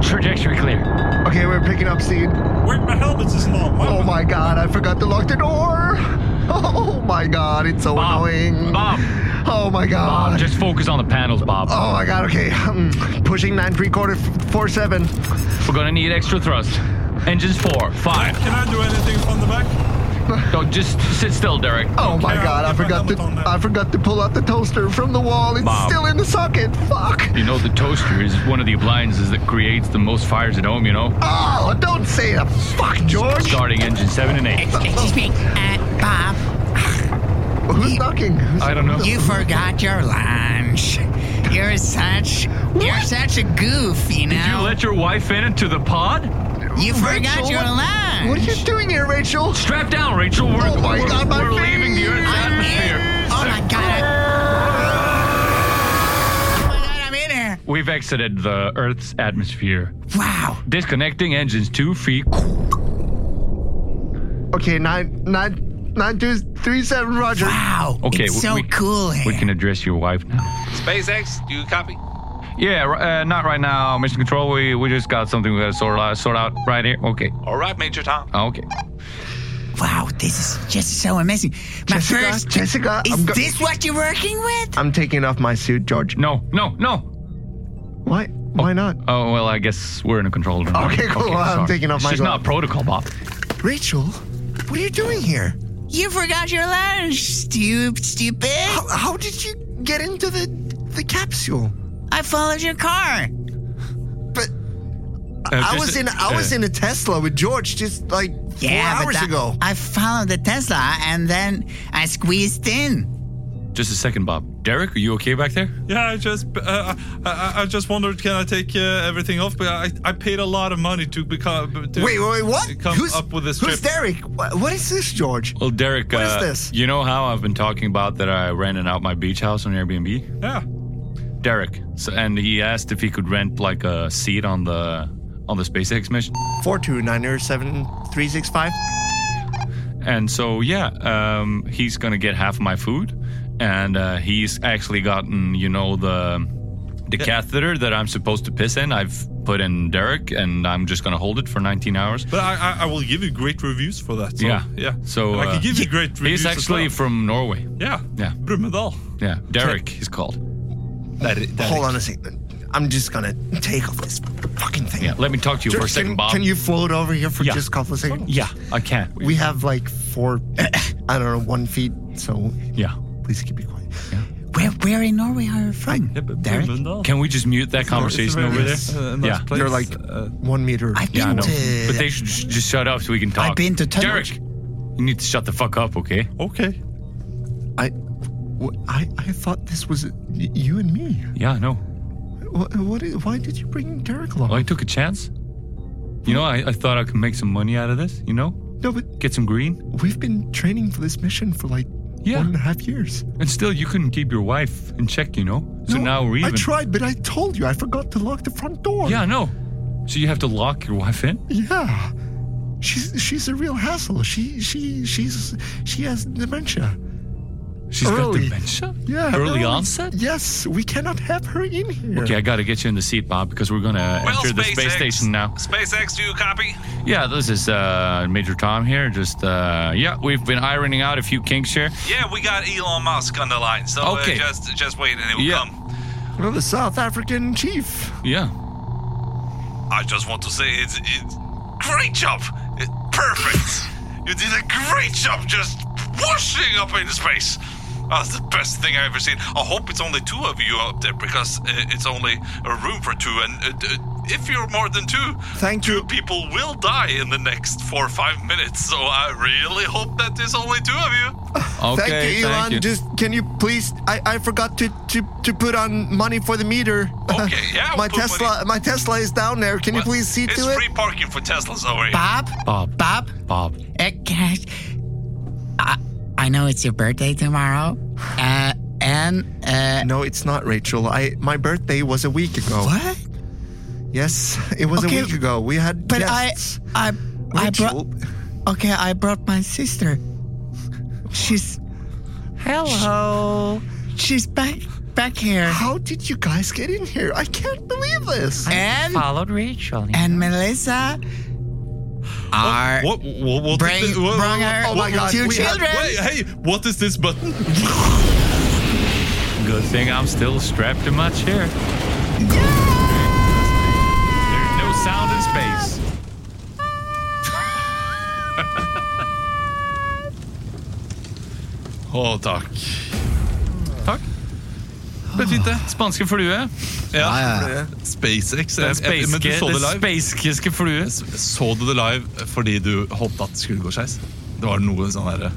Speaker 6: Trajectory clear.
Speaker 7: Okay, we're picking up speed.
Speaker 1: Wait, my helmet's is long. What?
Speaker 7: Oh my god, I forgot to lock the door. Oh my god, it's so
Speaker 6: Bob.
Speaker 7: annoying.
Speaker 6: Bob. Uh.
Speaker 7: Oh my
Speaker 6: Bob,
Speaker 7: god.
Speaker 6: just focus on the panels, Bob.
Speaker 7: Oh my god, okay. Hmm. Pushing nine three quarter f- four seven.
Speaker 6: We're gonna need extra thrust. Engines four, five.
Speaker 1: Can I do anything from the back?
Speaker 6: No, just sit still, Derek.
Speaker 7: Oh my
Speaker 1: I'll
Speaker 7: god, I
Speaker 1: get my
Speaker 7: forgot
Speaker 1: helmet
Speaker 7: to
Speaker 1: on now.
Speaker 7: I forgot to pull out the toaster from the wall. It's
Speaker 6: Bob.
Speaker 7: still in the socket. Fuck.
Speaker 6: You know, the toaster is one of the appliances that creates the most fires at home, you know?
Speaker 7: Oh, don't say that. Fuck, George.
Speaker 6: Starting engine seven and eight.
Speaker 8: Excuse me, uh, Bob,
Speaker 7: Who's knocking? Who's-
Speaker 6: I don't know.
Speaker 8: you forgot your lunch. You're such, you're such a goof, you
Speaker 6: Did you
Speaker 8: know.
Speaker 6: let your wife in into the pod?
Speaker 8: You
Speaker 7: Rachel,
Speaker 8: forgot your
Speaker 7: what-
Speaker 8: lunch.
Speaker 7: What are you doing here, Rachel?
Speaker 6: Strap down, Rachel. We're,
Speaker 7: Oh my
Speaker 6: we're,
Speaker 7: God, my
Speaker 6: we're leaving the Earth's
Speaker 8: I'm
Speaker 6: atmosphere.
Speaker 8: here. Oh my god. Oh my god, I'm in here.
Speaker 6: We've exited the Earth's atmosphere.
Speaker 8: Wow.
Speaker 6: Disconnecting engines two feet.
Speaker 7: Okay, nine nine nine two three seven. Roger.
Speaker 8: Wow.
Speaker 6: Okay,
Speaker 8: It's
Speaker 6: we-
Speaker 8: so
Speaker 6: we-
Speaker 8: cool here.
Speaker 6: We can address your wife now.
Speaker 9: SpaceX, do you copy?
Speaker 6: Yeah, r- uh, not right now, Mission Control. We we just got something we gotta sort out, sort out right here. Okay, Ah,
Speaker 9: All right, Major Tom.
Speaker 6: okay.
Speaker 8: wow, this is just so amazing. My
Speaker 7: Jessica,
Speaker 8: first.
Speaker 7: Jessica,
Speaker 8: is
Speaker 7: I'm go-
Speaker 8: this what you're working with?
Speaker 7: I'm taking off my suit, George.
Speaker 6: No, no, no.
Speaker 7: Why? Why not?
Speaker 8: uh,
Speaker 6: Oh well, I guess we're in a control room.
Speaker 7: Okay, cool. I'm
Speaker 6: sorry.
Speaker 7: taking off
Speaker 6: It's
Speaker 7: my
Speaker 6: just
Speaker 7: glove.
Speaker 6: not protocol, Bob.
Speaker 7: Rachel, what are you doing here?
Speaker 8: You forgot your lunch, stupid, stupid.
Speaker 7: How, how did you get into the the capsule?
Speaker 8: I followed your car.
Speaker 7: But
Speaker 6: Uh,
Speaker 7: I
Speaker 6: just-
Speaker 7: was in I was
Speaker 6: uh,
Speaker 7: in a Tesla with George just like
Speaker 8: Yeah,
Speaker 7: four
Speaker 8: but
Speaker 7: hours
Speaker 8: that-
Speaker 7: ago.
Speaker 8: I followed the Tesla and then I squeezed in.
Speaker 6: Just a second, Bob. Derek, are you okay back there?
Speaker 1: Yeah, I just uh, I, I, I just wondered, can I take uh, everything off? But I, I paid a lot of money to become. To
Speaker 7: wait, wait, wait, what?
Speaker 1: Come up with this
Speaker 7: who's
Speaker 1: trip.
Speaker 7: Derek? What, what is this, George?
Speaker 6: Well, Derek,
Speaker 7: What is
Speaker 6: uh,
Speaker 7: this?
Speaker 6: you know how I've been talking about that I rented out my beach house on Airbnb?
Speaker 1: Yeah.
Speaker 6: Derek, so, and he asked if he could rent like a seat on the on the SpaceX mission.
Speaker 7: Four two nine or seven three six five.
Speaker 6: And so, yeah, um, he's gonna get half of my food, and uh, he's actually gotten, you know, the the catheter that I'm supposed to piss in. I've put in Derek, and I'm just gonna hold it for 19 hours.
Speaker 1: But I, I, I will give you great reviews for that. So,
Speaker 6: Yeah.
Speaker 1: yeah.
Speaker 6: So
Speaker 1: And I
Speaker 6: uh,
Speaker 1: can give you great reviews.
Speaker 6: He's
Speaker 1: as
Speaker 6: actually
Speaker 1: well.
Speaker 6: from Norway.
Speaker 1: yeah,
Speaker 6: Yeah.
Speaker 1: Brumunddal.
Speaker 6: Yeah, Derek, he's called.
Speaker 7: Hold on a second. I'm just gonna take off this fucking thing.
Speaker 6: Yeah, let me talk to you for a
Speaker 7: George,
Speaker 6: second,
Speaker 7: can,
Speaker 6: Bob.
Speaker 7: can you float over here for
Speaker 6: Yeah.
Speaker 7: just a couple of seconds?
Speaker 6: Yeah, I can.
Speaker 7: We have like four, I don't know, one feet. So
Speaker 6: yeah.
Speaker 7: please keep it quiet.
Speaker 8: Where, where in Norway are you from?
Speaker 1: Yeah, but
Speaker 8: Derek?
Speaker 1: Brumunddal.
Speaker 6: Can we just mute that
Speaker 1: It's a
Speaker 6: conversation
Speaker 1: very
Speaker 6: over there?
Speaker 1: nice, uh, nice
Speaker 6: Yeah.
Speaker 1: place.
Speaker 7: They're like
Speaker 1: Uh,
Speaker 7: one meter.
Speaker 8: I've
Speaker 6: Yeah, I
Speaker 8: been
Speaker 6: know.
Speaker 8: to.
Speaker 6: But they should sh- just shut up so we can talk.
Speaker 8: I've been to
Speaker 6: Derek,
Speaker 8: tunnels.
Speaker 6: you need to shut the fuck up, okay?
Speaker 1: okay.
Speaker 7: I, wh- I, I thought this was y- you and me.
Speaker 6: Yeah, no.
Speaker 7: What, what is, why did you bring Derek along?
Speaker 6: Well, Oh, I took a chance. You know, I, I thought I could make some money out of this, you know?
Speaker 7: No, but
Speaker 6: Get some green.
Speaker 7: we've been training for this mission for like
Speaker 6: Yeah.
Speaker 7: one and a half years.
Speaker 6: And still, you couldn't keep your wife in check, you know? So
Speaker 7: No,
Speaker 6: now we're even.
Speaker 7: I tried, but I told you I forgot to lock the front door.
Speaker 6: Yeah, no. So you have to lock your wife in?
Speaker 7: Yeah. She's she's a real hassle. She she she's she has dementia.
Speaker 6: She's got
Speaker 7: Early.
Speaker 6: dementia?
Speaker 7: Yeah.
Speaker 6: Early onset?
Speaker 7: Yes, we cannot have her in here.
Speaker 6: Okay, I gotta get you in the seat, Bob, because we're gonna enter the space station now.
Speaker 1: SpaceX, do you copy?
Speaker 6: Yeah, this is uh, Major Tom here. Just, uh, yeah, we've been ironing out a few kinks here.
Speaker 1: Yeah, we got Elon Musk on the line. So
Speaker 6: uh, Okay. just-
Speaker 1: just wait and it
Speaker 6: will Yeah. come.
Speaker 7: Well, the South African chief.
Speaker 6: Yeah.
Speaker 1: I just want to say it's, it's great job. It- perfect. you did a great job just washing up in space. That's the best thing I've ever seen. I hope it's only two of you out there because uh, it's only a room for two. And uh, d- if you're more than two,
Speaker 7: Thank
Speaker 1: two
Speaker 7: you.
Speaker 1: people will die in the next four or five minutes. So I really hope that there's only two of you.
Speaker 6: Okay,
Speaker 7: thank you, Elon.
Speaker 6: thank you.
Speaker 7: Just can you please? I, I forgot to, to to put on money for the meter.
Speaker 1: Okay, yeah, we'll
Speaker 7: my
Speaker 1: put
Speaker 7: Tesla, my Tesla is down there. Can you please see
Speaker 1: it's
Speaker 7: to
Speaker 1: free
Speaker 7: it?
Speaker 1: parking for Teslas over here.
Speaker 8: Bob?
Speaker 6: Bob.
Speaker 8: Bob?
Speaker 6: Bob.
Speaker 8: Uh, can I, I, I know it's your birthday tomorrow. Uh, uh,
Speaker 2: and uh,
Speaker 4: No, it's not, Rachel. I my birthday was a week ago.
Speaker 2: what?
Speaker 4: Yes, it was
Speaker 2: Okay,
Speaker 4: a week ago. We had
Speaker 2: But
Speaker 4: guests.
Speaker 2: I, I, I
Speaker 4: Rachel,
Speaker 2: brought. Okay, I brought my sister. She's
Speaker 4: hello.
Speaker 2: she's back back here,
Speaker 4: How did you guys get in here? I can't believe this.
Speaker 2: and
Speaker 3: Followed Rachel.
Speaker 2: and Melissa are
Speaker 1: What? What? What?
Speaker 2: Bring-
Speaker 1: is thi- what-
Speaker 2: bring her
Speaker 1: what- what-
Speaker 2: two
Speaker 1: we have-
Speaker 2: children.
Speaker 1: wait, hey, what is this button?
Speaker 3: Good thing I'm still strapped to my chair. There's no sound in space.
Speaker 1: Å, takk.
Speaker 3: Takk. Det ble fint, det. Spanske flue.
Speaker 1: Ja.
Speaker 2: ja, ja.
Speaker 1: SpaceX.
Speaker 3: Den
Speaker 1: jeg- jeg- men du
Speaker 3: speiske,
Speaker 1: så det er
Speaker 3: det
Speaker 1: live?
Speaker 3: speiskiske flue.
Speaker 1: Så du det live fordi du håpet at det skulle gå skeis? Det var noe sånn derre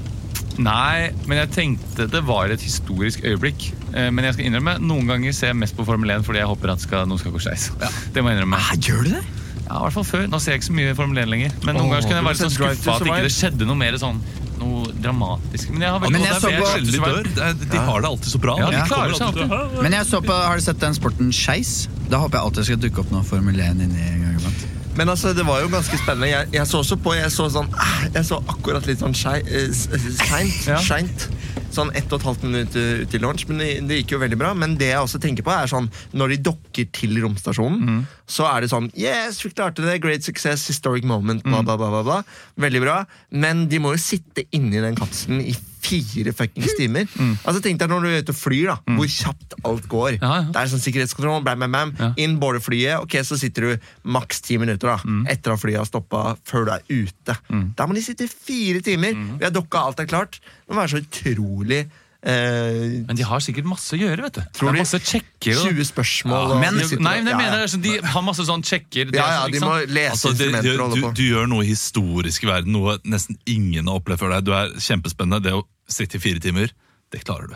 Speaker 3: Nei, men jeg tenkte det var et historisk øyeblikk. Eh, Men jeg skal innrømme, noen ganger ser jeg mest på Formel 1 fordi jeg håper at skal, noe skal gå skeis. Det må jeg innrømme.
Speaker 2: Gjør du det?
Speaker 3: Ja, i hvert fall før. Nå ser jeg ikke så mye Formel 1 lenger. Men noen ganger så kan
Speaker 1: Åh,
Speaker 3: jeg
Speaker 1: du
Speaker 3: være
Speaker 1: har
Speaker 3: så
Speaker 1: sett Drive to
Speaker 3: skuffa at ikke det
Speaker 1: Survive?
Speaker 3: skjedde noe mer sånn noe dramatisk. Men jeg har
Speaker 1: Ja,
Speaker 3: veldig
Speaker 2: men
Speaker 3: og
Speaker 2: jeg
Speaker 3: det
Speaker 2: så
Speaker 3: er
Speaker 2: på-
Speaker 3: veldig
Speaker 1: Sjelden de
Speaker 3: survive.
Speaker 1: dør. Det er- De har det alltid så bra.
Speaker 3: Ja, de
Speaker 1: kommer
Speaker 3: klarer seg
Speaker 1: til-
Speaker 2: Men jeg så på, har du sett den sporten skeis? Da håper jeg alltid det skal dukke opp noe Formel 1 inni en gang iblant.
Speaker 4: Men altså, det var jo ganske spennende. Jeg, jeg så også på, jeg så sånn ah, Jeg så akkurat litt sånn skei- eh, s- s- seint.
Speaker 3: Ja.
Speaker 4: seint. Sånn ett og et halvt minutt eh, ut i lunsj, men det, det gikk jo veldig bra. Men det jeg også tenker på, er sånn når de dokker til romstasjonen,
Speaker 3: Mm.
Speaker 4: så er det sånn Yes, vi klarte det! Great success, historic moment, bla,
Speaker 3: Mm.
Speaker 4: bla, bla, bla, bla. Veldig bra. Men de må jo sitte inni den kapselen i fire fuckings timer.
Speaker 3: Mm.
Speaker 4: Altså Tenk deg når du er ute og flyr, da. Hvor kjapt alt går.
Speaker 3: Ja, ja.
Speaker 4: Det er sånn sikkerhetskontroll, bam, bam, bam.
Speaker 3: Ja.
Speaker 4: Inn border flyet, ok, så sitter du maks ti minutter da,
Speaker 3: Mm.
Speaker 4: etter at flyet har stoppa, før du er ute. Der må de sitte i fire timer.
Speaker 3: Mm.
Speaker 4: Vi har dokka, alt er klart. Det må være så utrolig eh,
Speaker 3: Men de har sikkert masse å gjøre, vet du.
Speaker 4: Tror
Speaker 3: det
Speaker 4: du-
Speaker 3: er masse sjekker. og-
Speaker 4: 20 spørsmål. og
Speaker 3: men,
Speaker 4: de sitter-
Speaker 3: nei, men jeg
Speaker 4: ja,
Speaker 3: mener
Speaker 4: ja.
Speaker 3: det er sånn, De har masse sånn sjekker. det er
Speaker 4: Ja, ja,
Speaker 3: sånn,
Speaker 4: de
Speaker 3: ikke
Speaker 4: må
Speaker 3: sant?
Speaker 4: lese
Speaker 1: Altså, det,
Speaker 4: instrumenter og
Speaker 1: du,
Speaker 4: holde på.
Speaker 1: du gjør noe historisk i verden, noe nesten ingen har opplevd før deg. Du er kjempespennende. Det å sitte i fire timer, det klarer du.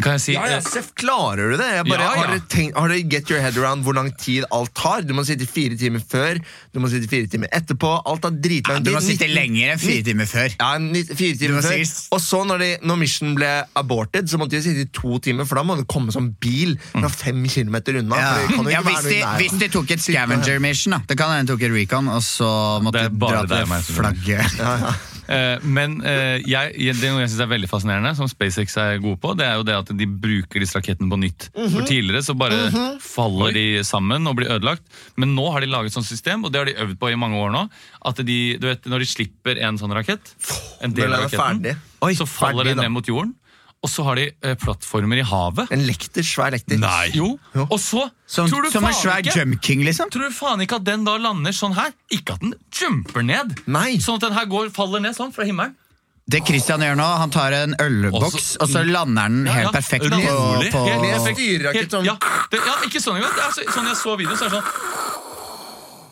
Speaker 3: Kan jeg si
Speaker 4: Ja, ja,
Speaker 3: eh,
Speaker 4: Seff, klarer du det? Jeg bare,
Speaker 3: Ja, ja.
Speaker 4: Har, dere tenkt, har dere get your head around hvor lang tid alt tar? Du må sitte i fire timer før, du må sitte i fire timer etterpå. Alt tar dritlang tid.
Speaker 2: Du må sitte
Speaker 4: 19
Speaker 2: lenger enn fire timer før.
Speaker 4: Ja, en ny- fire
Speaker 2: Du
Speaker 4: timer
Speaker 2: må
Speaker 4: før.
Speaker 2: sikkert-
Speaker 4: Og så når, de, når Mission ble aborted, så måtte de sitte i to timer, for da må det komme som bil fra fem kilometer unna.
Speaker 2: Ja.
Speaker 4: for det kan jo
Speaker 2: Ja,
Speaker 4: ikke være
Speaker 2: hvis, de,
Speaker 4: noe i
Speaker 2: hvis
Speaker 4: nærheten.
Speaker 2: de tok et scavenger mission, da. Det kan hende de tok et recon, og så måtte
Speaker 3: Det er
Speaker 2: de
Speaker 3: bare
Speaker 2: dra
Speaker 3: deg og
Speaker 2: til
Speaker 3: meg som
Speaker 2: flagget.
Speaker 3: Eh, men eh, jeg, jeg- det er noe jeg synes er veldig fascinerende, som SpaceX er gode på, det er jo det at de bruker disse rakettene på nytt. For tidligere så bare faller de sammen og blir ødelagt, men nå har de laget sånn system, og det har de øvd på i mange år nå, at de, du vet, når de slipper en sånn rakett, en del
Speaker 4: Vel,
Speaker 3: av
Speaker 4: er det
Speaker 3: raketten,
Speaker 4: ferdig?
Speaker 3: så faller
Speaker 4: ferdig
Speaker 3: den
Speaker 4: da.
Speaker 3: ned mot jorden, og så har de eh, plattformer i havet.
Speaker 4: En lekter, svær lekter.
Speaker 1: Nei.
Speaker 3: Jo,
Speaker 4: Jo.
Speaker 3: og så
Speaker 2: Som,
Speaker 3: tror du
Speaker 2: som en
Speaker 3: faen
Speaker 2: svær
Speaker 3: ikke-
Speaker 2: jump king, liksom.
Speaker 3: Tror du faen ikke at den da lander sånn her? Ikke at den jumper ned.
Speaker 4: Nei.
Speaker 3: Sånn at den her går, faller ned sånn fra himmeren.
Speaker 2: Det Christian gjør nå, han tar en ølboks,
Speaker 3: Også-
Speaker 2: og så lander den helt perfekt på,
Speaker 1: Rolig.
Speaker 2: på
Speaker 3: Helt
Speaker 4: Med
Speaker 3: perfekt.
Speaker 4: styrerakett
Speaker 3: Helt-
Speaker 4: sånn.
Speaker 3: ja, det, ja, ikke sånn engang. Det er så, sånn jeg så videoen, så er det sånn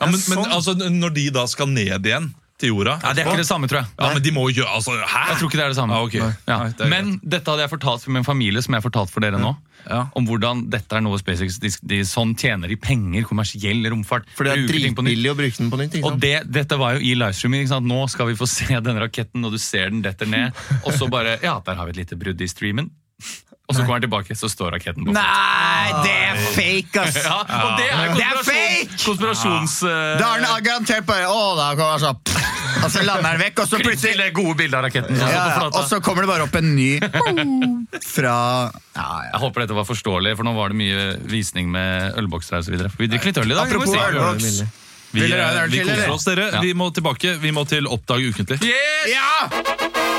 Speaker 1: Ja, men,
Speaker 4: sånn.
Speaker 1: men altså, når de da skal ned igjen til jorda
Speaker 3: Nei, Det er ikke det samme, tror jeg.
Speaker 1: Ja, men de må jo gjøre altså, Hæ?
Speaker 3: Jeg tror ikke det er det samme.
Speaker 1: Ja, ok.
Speaker 3: Ja.
Speaker 1: Nei, det er
Speaker 3: Men dette hadde jeg fortalt for min familie, som jeg har fortalt for dere nå.
Speaker 1: Ja.
Speaker 3: Om hvordan dette er noe SpaceX de, de, Sånn tjener de penger, kommersiell romfart.
Speaker 4: For det er
Speaker 3: bruker ting på nytt.
Speaker 4: dritbillig liksom. å bruke den på nytt. Ikke
Speaker 3: Og
Speaker 4: sant?
Speaker 3: det, dette var jo i livestreaming. Ikke sant? Nå skal vi få se denne raketten, og du ser den detter ned. Og så bare Ja, der har vi et lite brudd i streamen. Og så går den tilbake, så står raketten på fot.
Speaker 2: Nei, det er fake, ass!
Speaker 3: Ja, og det er,
Speaker 2: Det er
Speaker 3: konspirasjon-
Speaker 2: fake!
Speaker 3: Konspirasjons... eh,
Speaker 2: Da har den garantert bare Å, da kommer han sånn Og så lander den vekk, og så
Speaker 3: Plutselig
Speaker 2: plutselig
Speaker 3: det gode bildet av raketten. som
Speaker 2: ja,
Speaker 3: står Altså, på
Speaker 2: ja,
Speaker 3: flata.
Speaker 2: Og så kommer det bare opp en ny boom, fra ja, ja.
Speaker 3: Jeg håper dette var forståelig, for nå var det mye visning med ølbokser her. og så videre. For Vi drikker litt øl i dag.
Speaker 2: Apropos
Speaker 3: må vi si.
Speaker 2: ølboks.
Speaker 1: Vi,
Speaker 2: Vil dere ha en
Speaker 1: eh,
Speaker 2: øl
Speaker 1: vi
Speaker 2: til,
Speaker 1: koser
Speaker 2: eller?
Speaker 1: oss, dere.
Speaker 3: Ja.
Speaker 1: Vi må tilbake. Vi må til Oppdag ukentlig.
Speaker 3: Yes!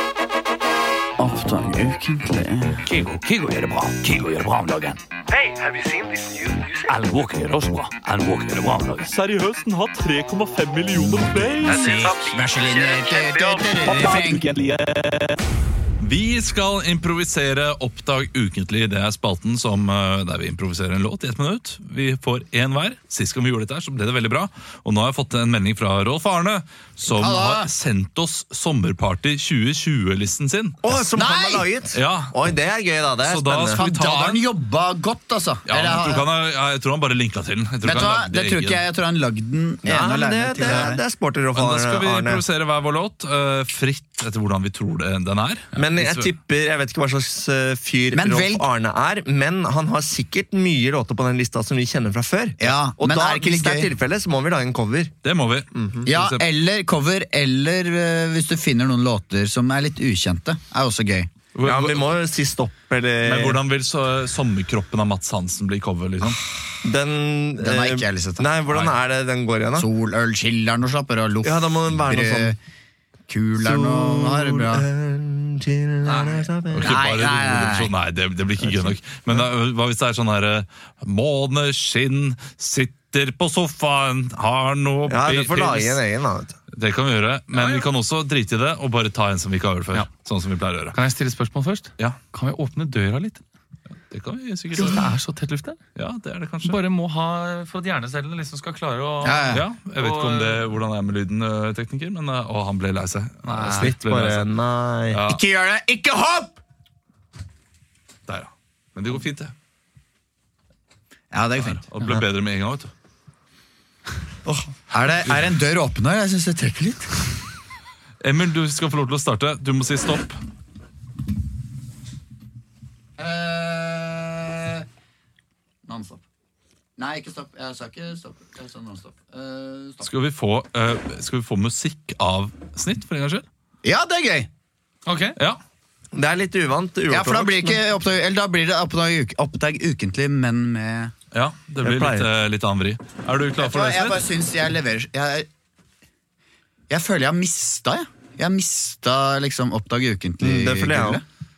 Speaker 10: Seriøst, den har 3,5 millioner plays.
Speaker 1: Vi skal improvisere Oppdag ukentlig. Det er spalten som, eh, der vi improviserer en låt i ett minutt. Vi får én hver. Sist gang vi gjorde dette, her, så ble det veldig bra. Og nå har jeg fått en melding fra Rolf Arne, som
Speaker 2: Hallo.
Speaker 1: har sendt oss Sommerparty 2020-listen sin.
Speaker 4: Å, som han har
Speaker 2: Nei!
Speaker 4: laget?
Speaker 1: Ja.
Speaker 4: Oi, det er gøy, da. Det er
Speaker 1: Så da
Speaker 4: spennende.
Speaker 1: skal vi
Speaker 2: Faen,
Speaker 1: ta
Speaker 2: da har
Speaker 1: den?
Speaker 2: han jobba godt, altså.
Speaker 1: Ja,
Speaker 2: Eller
Speaker 1: men jeg, tror
Speaker 2: har-
Speaker 1: ikke han, har- jeg tror han bare linka til den. Jeg tror
Speaker 2: vet
Speaker 1: ikke
Speaker 2: du hva,
Speaker 1: han lagde
Speaker 2: det tror
Speaker 1: egen.
Speaker 2: ikke jeg. Jeg tror han lagde den
Speaker 4: Ja,
Speaker 2: ene
Speaker 4: men det,
Speaker 2: alene. til
Speaker 4: det, det er sporty
Speaker 1: Men da
Speaker 4: råfall,
Speaker 1: skal vi
Speaker 4: Arne.
Speaker 1: produsere hver vår låt, eh, fritt etter hvordan vi tror det, den er.
Speaker 4: Men
Speaker 1: Hvis
Speaker 4: jeg
Speaker 1: vi-
Speaker 4: tipper, jeg vet ikke hva slags eh, fyr
Speaker 2: Men
Speaker 4: Rolf
Speaker 2: velg-
Speaker 4: Arne er, men han har sikkert mye låter på den lista som vi kjenner fra før.
Speaker 2: Ja,
Speaker 4: og
Speaker 2: men
Speaker 4: da,
Speaker 2: er det ikke
Speaker 4: hvis
Speaker 2: litt
Speaker 4: det er
Speaker 2: gøy?
Speaker 4: tilfelle, så må vi lage en cover.
Speaker 1: Det må vi.
Speaker 4: Mm,
Speaker 2: Ja,
Speaker 1: Skal vi se.
Speaker 2: eller cover, eller eh, hvis du finner noen låter som er litt ukjente, er også gøy.
Speaker 1: Hvor-
Speaker 4: Ja, men Vi må jo si stopp, eller
Speaker 1: Men hvordan vil så, sommerkroppen av Mats Hansen bli cover? liksom?
Speaker 4: Den,
Speaker 2: Den har
Speaker 4: eh,
Speaker 2: ikke jeg lyst til å ta.
Speaker 4: Nei, hvordan er det den går igjen, da?
Speaker 2: Sol, øl, chiller'n og slapper av, loff,
Speaker 4: Ja, da må det være noe sånn. eh,
Speaker 2: Kuler'n og Ja, det er bra.
Speaker 4: Ah,
Speaker 1: Ok,
Speaker 2: Nei,
Speaker 1: bare
Speaker 2: nei, nei, nei.
Speaker 1: rolig, nei det, det blir ikke gøy nok. Men da, hva hvis det er sånn herre Måneskinn sitter på sofaen, har noe
Speaker 4: Ja, du
Speaker 1: pils
Speaker 4: får lage en egen, da. vet du.
Speaker 1: Det kan vi gjøre, men vi kan også drite i det og bare ta en som vi ikke har hørt før. Sånn som vi pleier å gjøre.
Speaker 3: Kan jeg stille spørsmål først?
Speaker 1: Ja,
Speaker 3: Kan vi åpne døra litt?
Speaker 1: det kan vi sikkert
Speaker 3: Det
Speaker 1: gjøre.
Speaker 3: er så tett luft der.
Speaker 1: Ja, det er det kanskje.
Speaker 3: Bare må ha For at hjernecellene liksom skal klare å
Speaker 2: Ja,
Speaker 1: Ja, jeg vet ikke om det, hvordan det er med lyden, ø, tekniker, men ø, å, han ble lei seg. Slitt ble lei
Speaker 2: altså.
Speaker 4: Bare,
Speaker 1: seg.
Speaker 4: nei.
Speaker 1: Ja.
Speaker 2: Ikke gjør det! Ikke hopp!
Speaker 1: Der, ja. Men det går fint, det.
Speaker 2: Ja, det er jo fint.
Speaker 1: Og det ble bedre med en gang. vet du.
Speaker 2: Er det er en dør åpen her? Jeg syns det trekker litt.
Speaker 1: Emil, du skal få lov til å starte. Du må si stopp.
Speaker 2: Uh, nonstop. Nei, ikke stopp. Jeg sa ikke stopp. Jeg sa nonstop. Uh, stopp.
Speaker 1: Skal vi få, ø, skal vi få musikk av snitt, for en gangs skyld?
Speaker 2: Ja, det er gøy!
Speaker 3: Ok,
Speaker 1: Ja.
Speaker 4: Det er litt uvant.
Speaker 2: Ja, for da
Speaker 4: uortodoks,
Speaker 2: blir, det ikke oppdag, eller da blir det oppdag, uk- oppdag ukentlig, men med
Speaker 1: ja. Det blir
Speaker 4: Jeg pleier.
Speaker 1: litt, ø, litt annen vri. Er du klar for det,
Speaker 2: Jeg bare
Speaker 1: Snitt?
Speaker 2: syns jeg leverer Jeg, jeg føler jeg har mista, jeg. Jeg har mista liksom oppdag ukentlig.
Speaker 4: Mm, det føler jeg
Speaker 2: gullet.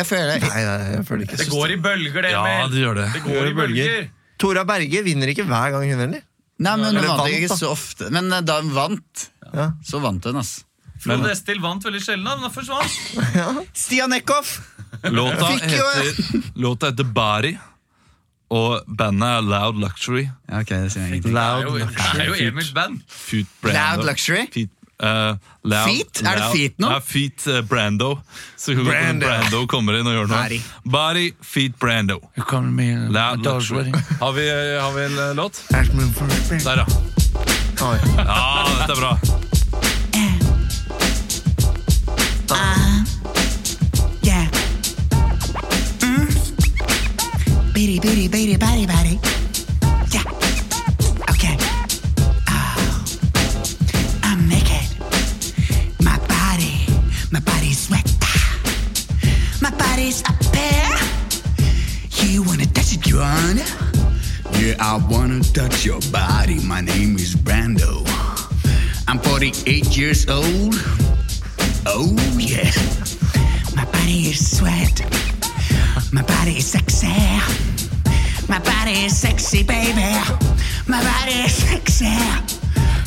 Speaker 2: Jeg føler
Speaker 4: Nei, nei, jeg føler ikke
Speaker 3: Det går i bølger, det,
Speaker 1: Ja,
Speaker 3: Emil.
Speaker 1: det gjør det.
Speaker 3: Det går i bølger.
Speaker 4: Tora Berge vinner ikke hver gang, hun heller.
Speaker 2: Nei, men
Speaker 4: Eller
Speaker 2: hun vant
Speaker 4: vant,
Speaker 2: ikke
Speaker 4: da.
Speaker 2: så ofte. Men eh, da hun vant,
Speaker 4: Ja.
Speaker 2: så vant hun, ass.
Speaker 3: Frode Estil vant veldig sjelden, men han forsvant.
Speaker 2: Stian Eckhoff!
Speaker 1: Låta
Speaker 2: Fikk jo-
Speaker 1: heter, låta heter Body, og bandet er Loud Luxury.
Speaker 2: Ja, ok, det sier jeg ingenting.
Speaker 4: Loud.
Speaker 3: Det er jo Emils band.
Speaker 1: Feet
Speaker 2: Loud
Speaker 1: Brando.
Speaker 2: Luxury?
Speaker 1: Feet, eh, loud,
Speaker 2: Feet? Er det
Speaker 1: Loud-
Speaker 2: feet nå?
Speaker 1: Ja, Feet eh, Brando. Så kan Brando.
Speaker 4: Brando.
Speaker 1: Brando kommer inn og gjør noe.
Speaker 2: Body.
Speaker 1: Body, Feet Brando. Loud Luxury. Har vi, eh, har vi en eh, låt? Der, ja.
Speaker 4: Oi.
Speaker 1: Ja, dette er bra.
Speaker 8: Yeah. Mm. Bitty, bitty, bitty, batty, batty. Yeah. Okay. Oh. I make it. My body, my body's wet. My body's up there. You wanna touch it, you wanna?
Speaker 2: Yeah, I wanna touch your body. My name is Brando. I'm 48 years old. Oh yeah.
Speaker 8: My body is sweat. My body is sexy. My body is sexy, baby. My body is sexy.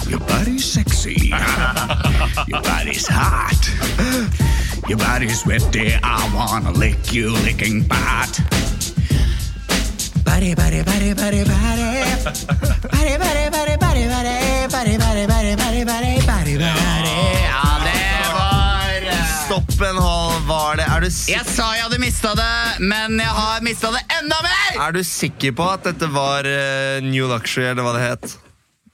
Speaker 2: Your body's sexy. your body's hot. Your body's sweaty. I wanna lick you licking pot.
Speaker 8: Body, body, body, body, body. Body, body, body, body, body. Body, body, body, body, body, body, body.
Speaker 2: Ja, det var
Speaker 4: Stopp en hal, var det Er du
Speaker 2: Jeg sa jeg hadde mista det, men jeg har mista det enda mer!
Speaker 4: Er du sikker på at dette var eh, New Luxury, eller hva det het?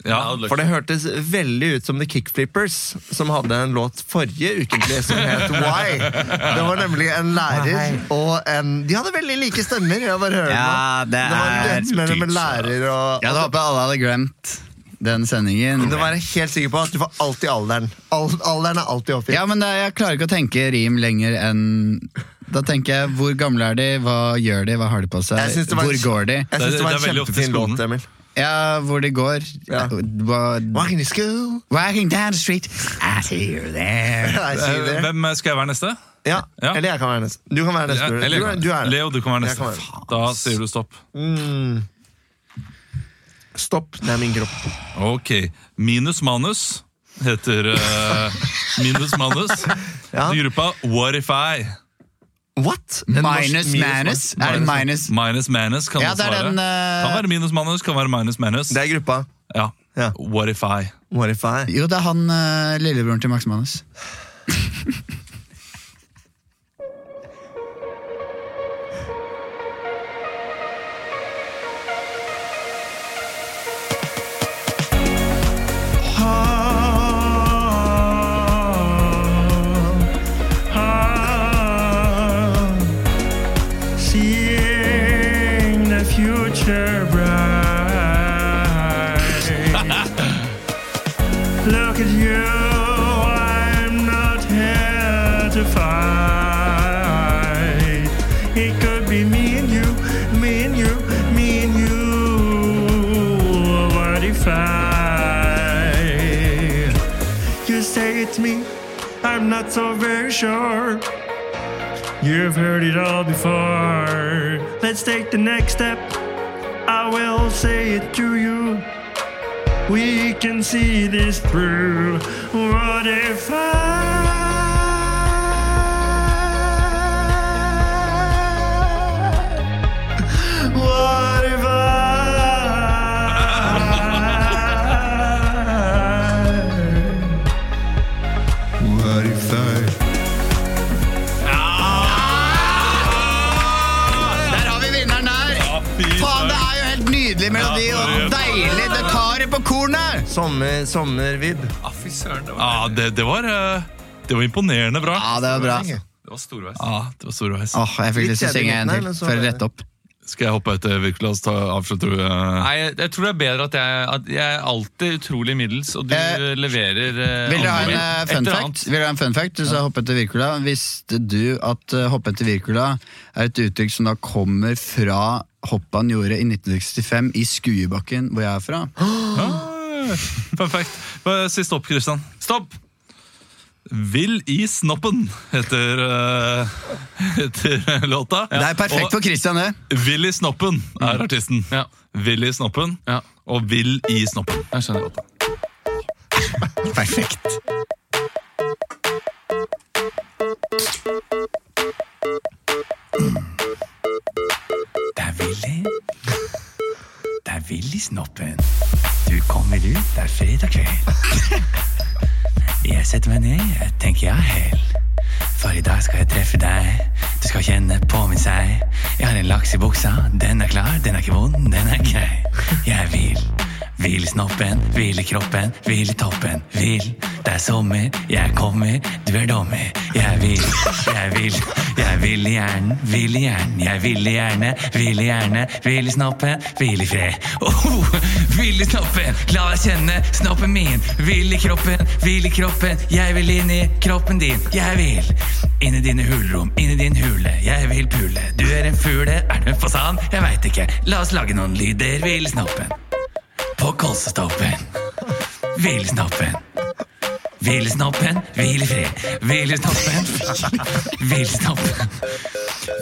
Speaker 1: Ja,
Speaker 4: For det hørtes veldig ut som The Kickflippers, som hadde en låt forrige ukentlig som het Why. Det var nemlig en lærer og en De hadde veldig like stemmer. Jeg bare hører
Speaker 2: Ja,
Speaker 4: det
Speaker 2: det
Speaker 4: nå. Det var en
Speaker 2: er
Speaker 4: duett mellom en lærer og
Speaker 2: Jeg hadde håpet alle hadde glemt den sendingen.
Speaker 4: Du må være helt sikker på at du får alltid alderen. Al alderen er alltid oppgitt.
Speaker 2: Ja, men det, jeg klarer ikke å tenke rim lenger enn Da tenker jeg hvor gamle er de, hva gjør de, hva har de på
Speaker 4: Jeg
Speaker 2: seg,
Speaker 4: synes det var-
Speaker 2: hvor går de?
Speaker 4: Jeg
Speaker 1: Det-
Speaker 4: syns det var
Speaker 1: det
Speaker 4: en
Speaker 1: er veldig ofte i
Speaker 4: kjempefin
Speaker 1: skolen.
Speaker 4: låt, Emil.
Speaker 2: Ja, hvor de går.
Speaker 4: Ja.
Speaker 2: Hva-
Speaker 4: Walking to school.
Speaker 2: Walking down the street, I see you there.
Speaker 4: Nei, si
Speaker 1: Eh,
Speaker 4: det.
Speaker 1: Hvem eh, skal jeg være neste?
Speaker 4: Ja.
Speaker 1: Ja.
Speaker 4: Eller jeg kan være neste. Du kan være neste.
Speaker 1: Eller-
Speaker 4: du, er- du er det.
Speaker 1: Leo, du kan være neste.
Speaker 4: Jeg kan være
Speaker 1: Faen, Da sier du stopp.
Speaker 4: Stopp. Det er min kropp.
Speaker 1: Ok. Minus manus heter eh, Minus manus.
Speaker 4: Ja.
Speaker 1: Gruppa What If I?
Speaker 4: What? En norsk
Speaker 2: Minus Manus. Er det minus?
Speaker 1: Minus manus kan
Speaker 2: Ja,
Speaker 1: det
Speaker 2: det er
Speaker 1: svare.
Speaker 2: den, eh,
Speaker 1: Kan være minus manus, kan være minus manus.
Speaker 4: Det er gruppa.
Speaker 1: Ja.
Speaker 4: Ja.
Speaker 1: What if I?
Speaker 4: What if I?
Speaker 2: Jo, det er han eh, lillebroren til Max Manus.
Speaker 10: Seeing the future bright. Look at you, I'm not here to fight. It could be me and you, me and you, me and you. What if I? You say it's me, I'm not so very sure. You've heard it all before. Let's take the next step. I will say it to you. We can see this through. What if I? What if I?
Speaker 4: What if I?
Speaker 2: Der har vi vinneren der! Faen, det er jo helt nydelig melodi og deilig! Det tar det på kornet!
Speaker 4: Sommer, sommervibb.
Speaker 1: Ja, det, det var eh, Det var imponerende bra.
Speaker 2: Ja, det var bra.
Speaker 11: Det var storveis.
Speaker 1: Ja, det var storveis.
Speaker 2: Åh, jeg fikk lyst til å synge en
Speaker 4: Litt kjedelig,
Speaker 2: til
Speaker 4: men så-
Speaker 2: for å rette opp.
Speaker 1: Skal jeg hoppe eh, etter Wirkolas avslutter du? eh?
Speaker 11: Nei, jeg, jeg tror det er bedre at jeg, at jeg er alltid utrolig middels, og du
Speaker 2: Eh,
Speaker 11: leverer eh,
Speaker 2: Vil dere ha en
Speaker 11: andre-
Speaker 2: eh,
Speaker 11: et
Speaker 2: fun
Speaker 11: eller
Speaker 2: fact?
Speaker 11: annet.
Speaker 2: Vil dere ha en fun fact? Du sa hoppe etter Wirkola. Visste du at eh, hoppe etter Wirkola er et uttrykk som da kommer fra hoppet han gjorde i 1965 i Skuebakken, hvor jeg er fra?
Speaker 1: Fun fact. Hva- Si stopp, Kristian. Stopp! Vill i snoppen heter, eh, heter låta.
Speaker 2: Det er perfekt for Christian, det.
Speaker 1: Og Vill i snoppen er artisten.
Speaker 11: Mm. Ja.
Speaker 1: Vill i snoppen
Speaker 11: Ja,
Speaker 1: og Vill i snoppen.
Speaker 11: jeg skjønner godt.
Speaker 2: Perfekt.
Speaker 11: Det er Willy. Det er Willy Snoppen. Du kommer ut, det er fredag kveld. Jeg setter meg ned, jeg tenker jeg hell. For i dag skal jeg treffe deg. Du skal kjenne på min sei. Jeg har en laks i buksa, den er klar, den er ikke vond, den er grei. Jeg vil. Vil i snoppen, vil i kroppen, vil i toppen, vil. Det er sommer, jeg kommer, du er dommer. Jeg vil, jeg vil, jeg vil i hjernen, vil i hjernen, jeg vil i hjerne, vil i hjerne, vil i snoppen, vil i fred. Oh, vil i snoppen, la deg kjenne snoppen min. Vil i kroppen, vil i kroppen, jeg vil inn i kroppen din. Jeg vil inn i dine hulrom, inn i din hule, jeg vil pule. Du er en fugle, er du en fasan? Jeg veit ikke. La oss lage noen lyder, vil i snoppen. På Kolsetoppen. Vil i snoppen. Hvil i snoppen, hvil i fred. Hvil i snoppen, hvil i snoppen.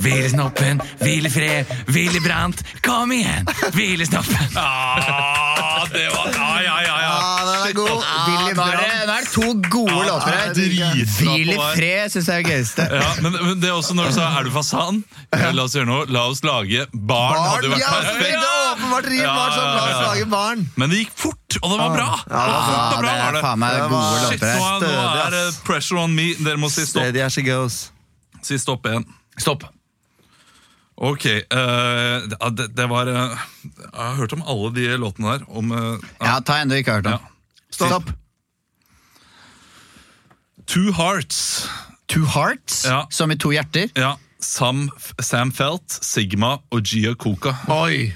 Speaker 11: Hvil i snoppen, hvil i fred. Hvil i brant, kom igjen! Hvil i snoppen.
Speaker 1: Ah, det var Ja, ja, ja. ja.
Speaker 2: Ja, Ah, den er god. Ah, Willy Brandt. Nå er det- nå er det to gode låter
Speaker 1: det
Speaker 2: her.
Speaker 1: er dritbra på
Speaker 2: Hvil i
Speaker 1: her.
Speaker 2: fred syns jeg er gøyeste.
Speaker 1: Ja, men, men det er også når du sa 'er du fasan'? Ja, La oss gjøre noe. La oss lage barn. hadde jo vært
Speaker 2: ja,
Speaker 1: perfekt.
Speaker 2: selvfølgelig, det er
Speaker 4: Åpenbart rim var sånn, la oss lage barn.
Speaker 1: Men det gikk fort, og det
Speaker 11: Ah.
Speaker 1: var bra! Det var fort
Speaker 2: Ja,
Speaker 1: og bra var
Speaker 2: det er
Speaker 1: det.
Speaker 2: faen meg gode
Speaker 1: Shit, nå
Speaker 2: låter her.
Speaker 1: er, nå
Speaker 4: Stødig,
Speaker 1: er det
Speaker 4: ass.
Speaker 1: pressure on me. Dere må si stopp.
Speaker 4: Steady as she goes.
Speaker 1: Si stopp igjen.
Speaker 11: Stopp.
Speaker 1: Ok, eh, ja, det, det var eh, Jeg har hørt om alle de låtene der. Om eh,
Speaker 2: Ja, ta en du ikke har hørt om. Stopp.
Speaker 1: Two Hearts.
Speaker 2: Two hearts,
Speaker 1: Ja.
Speaker 2: som i to hjerter.
Speaker 1: Ja, Sam, Sam Felt, Sigma og Gia Coca.
Speaker 4: Oi!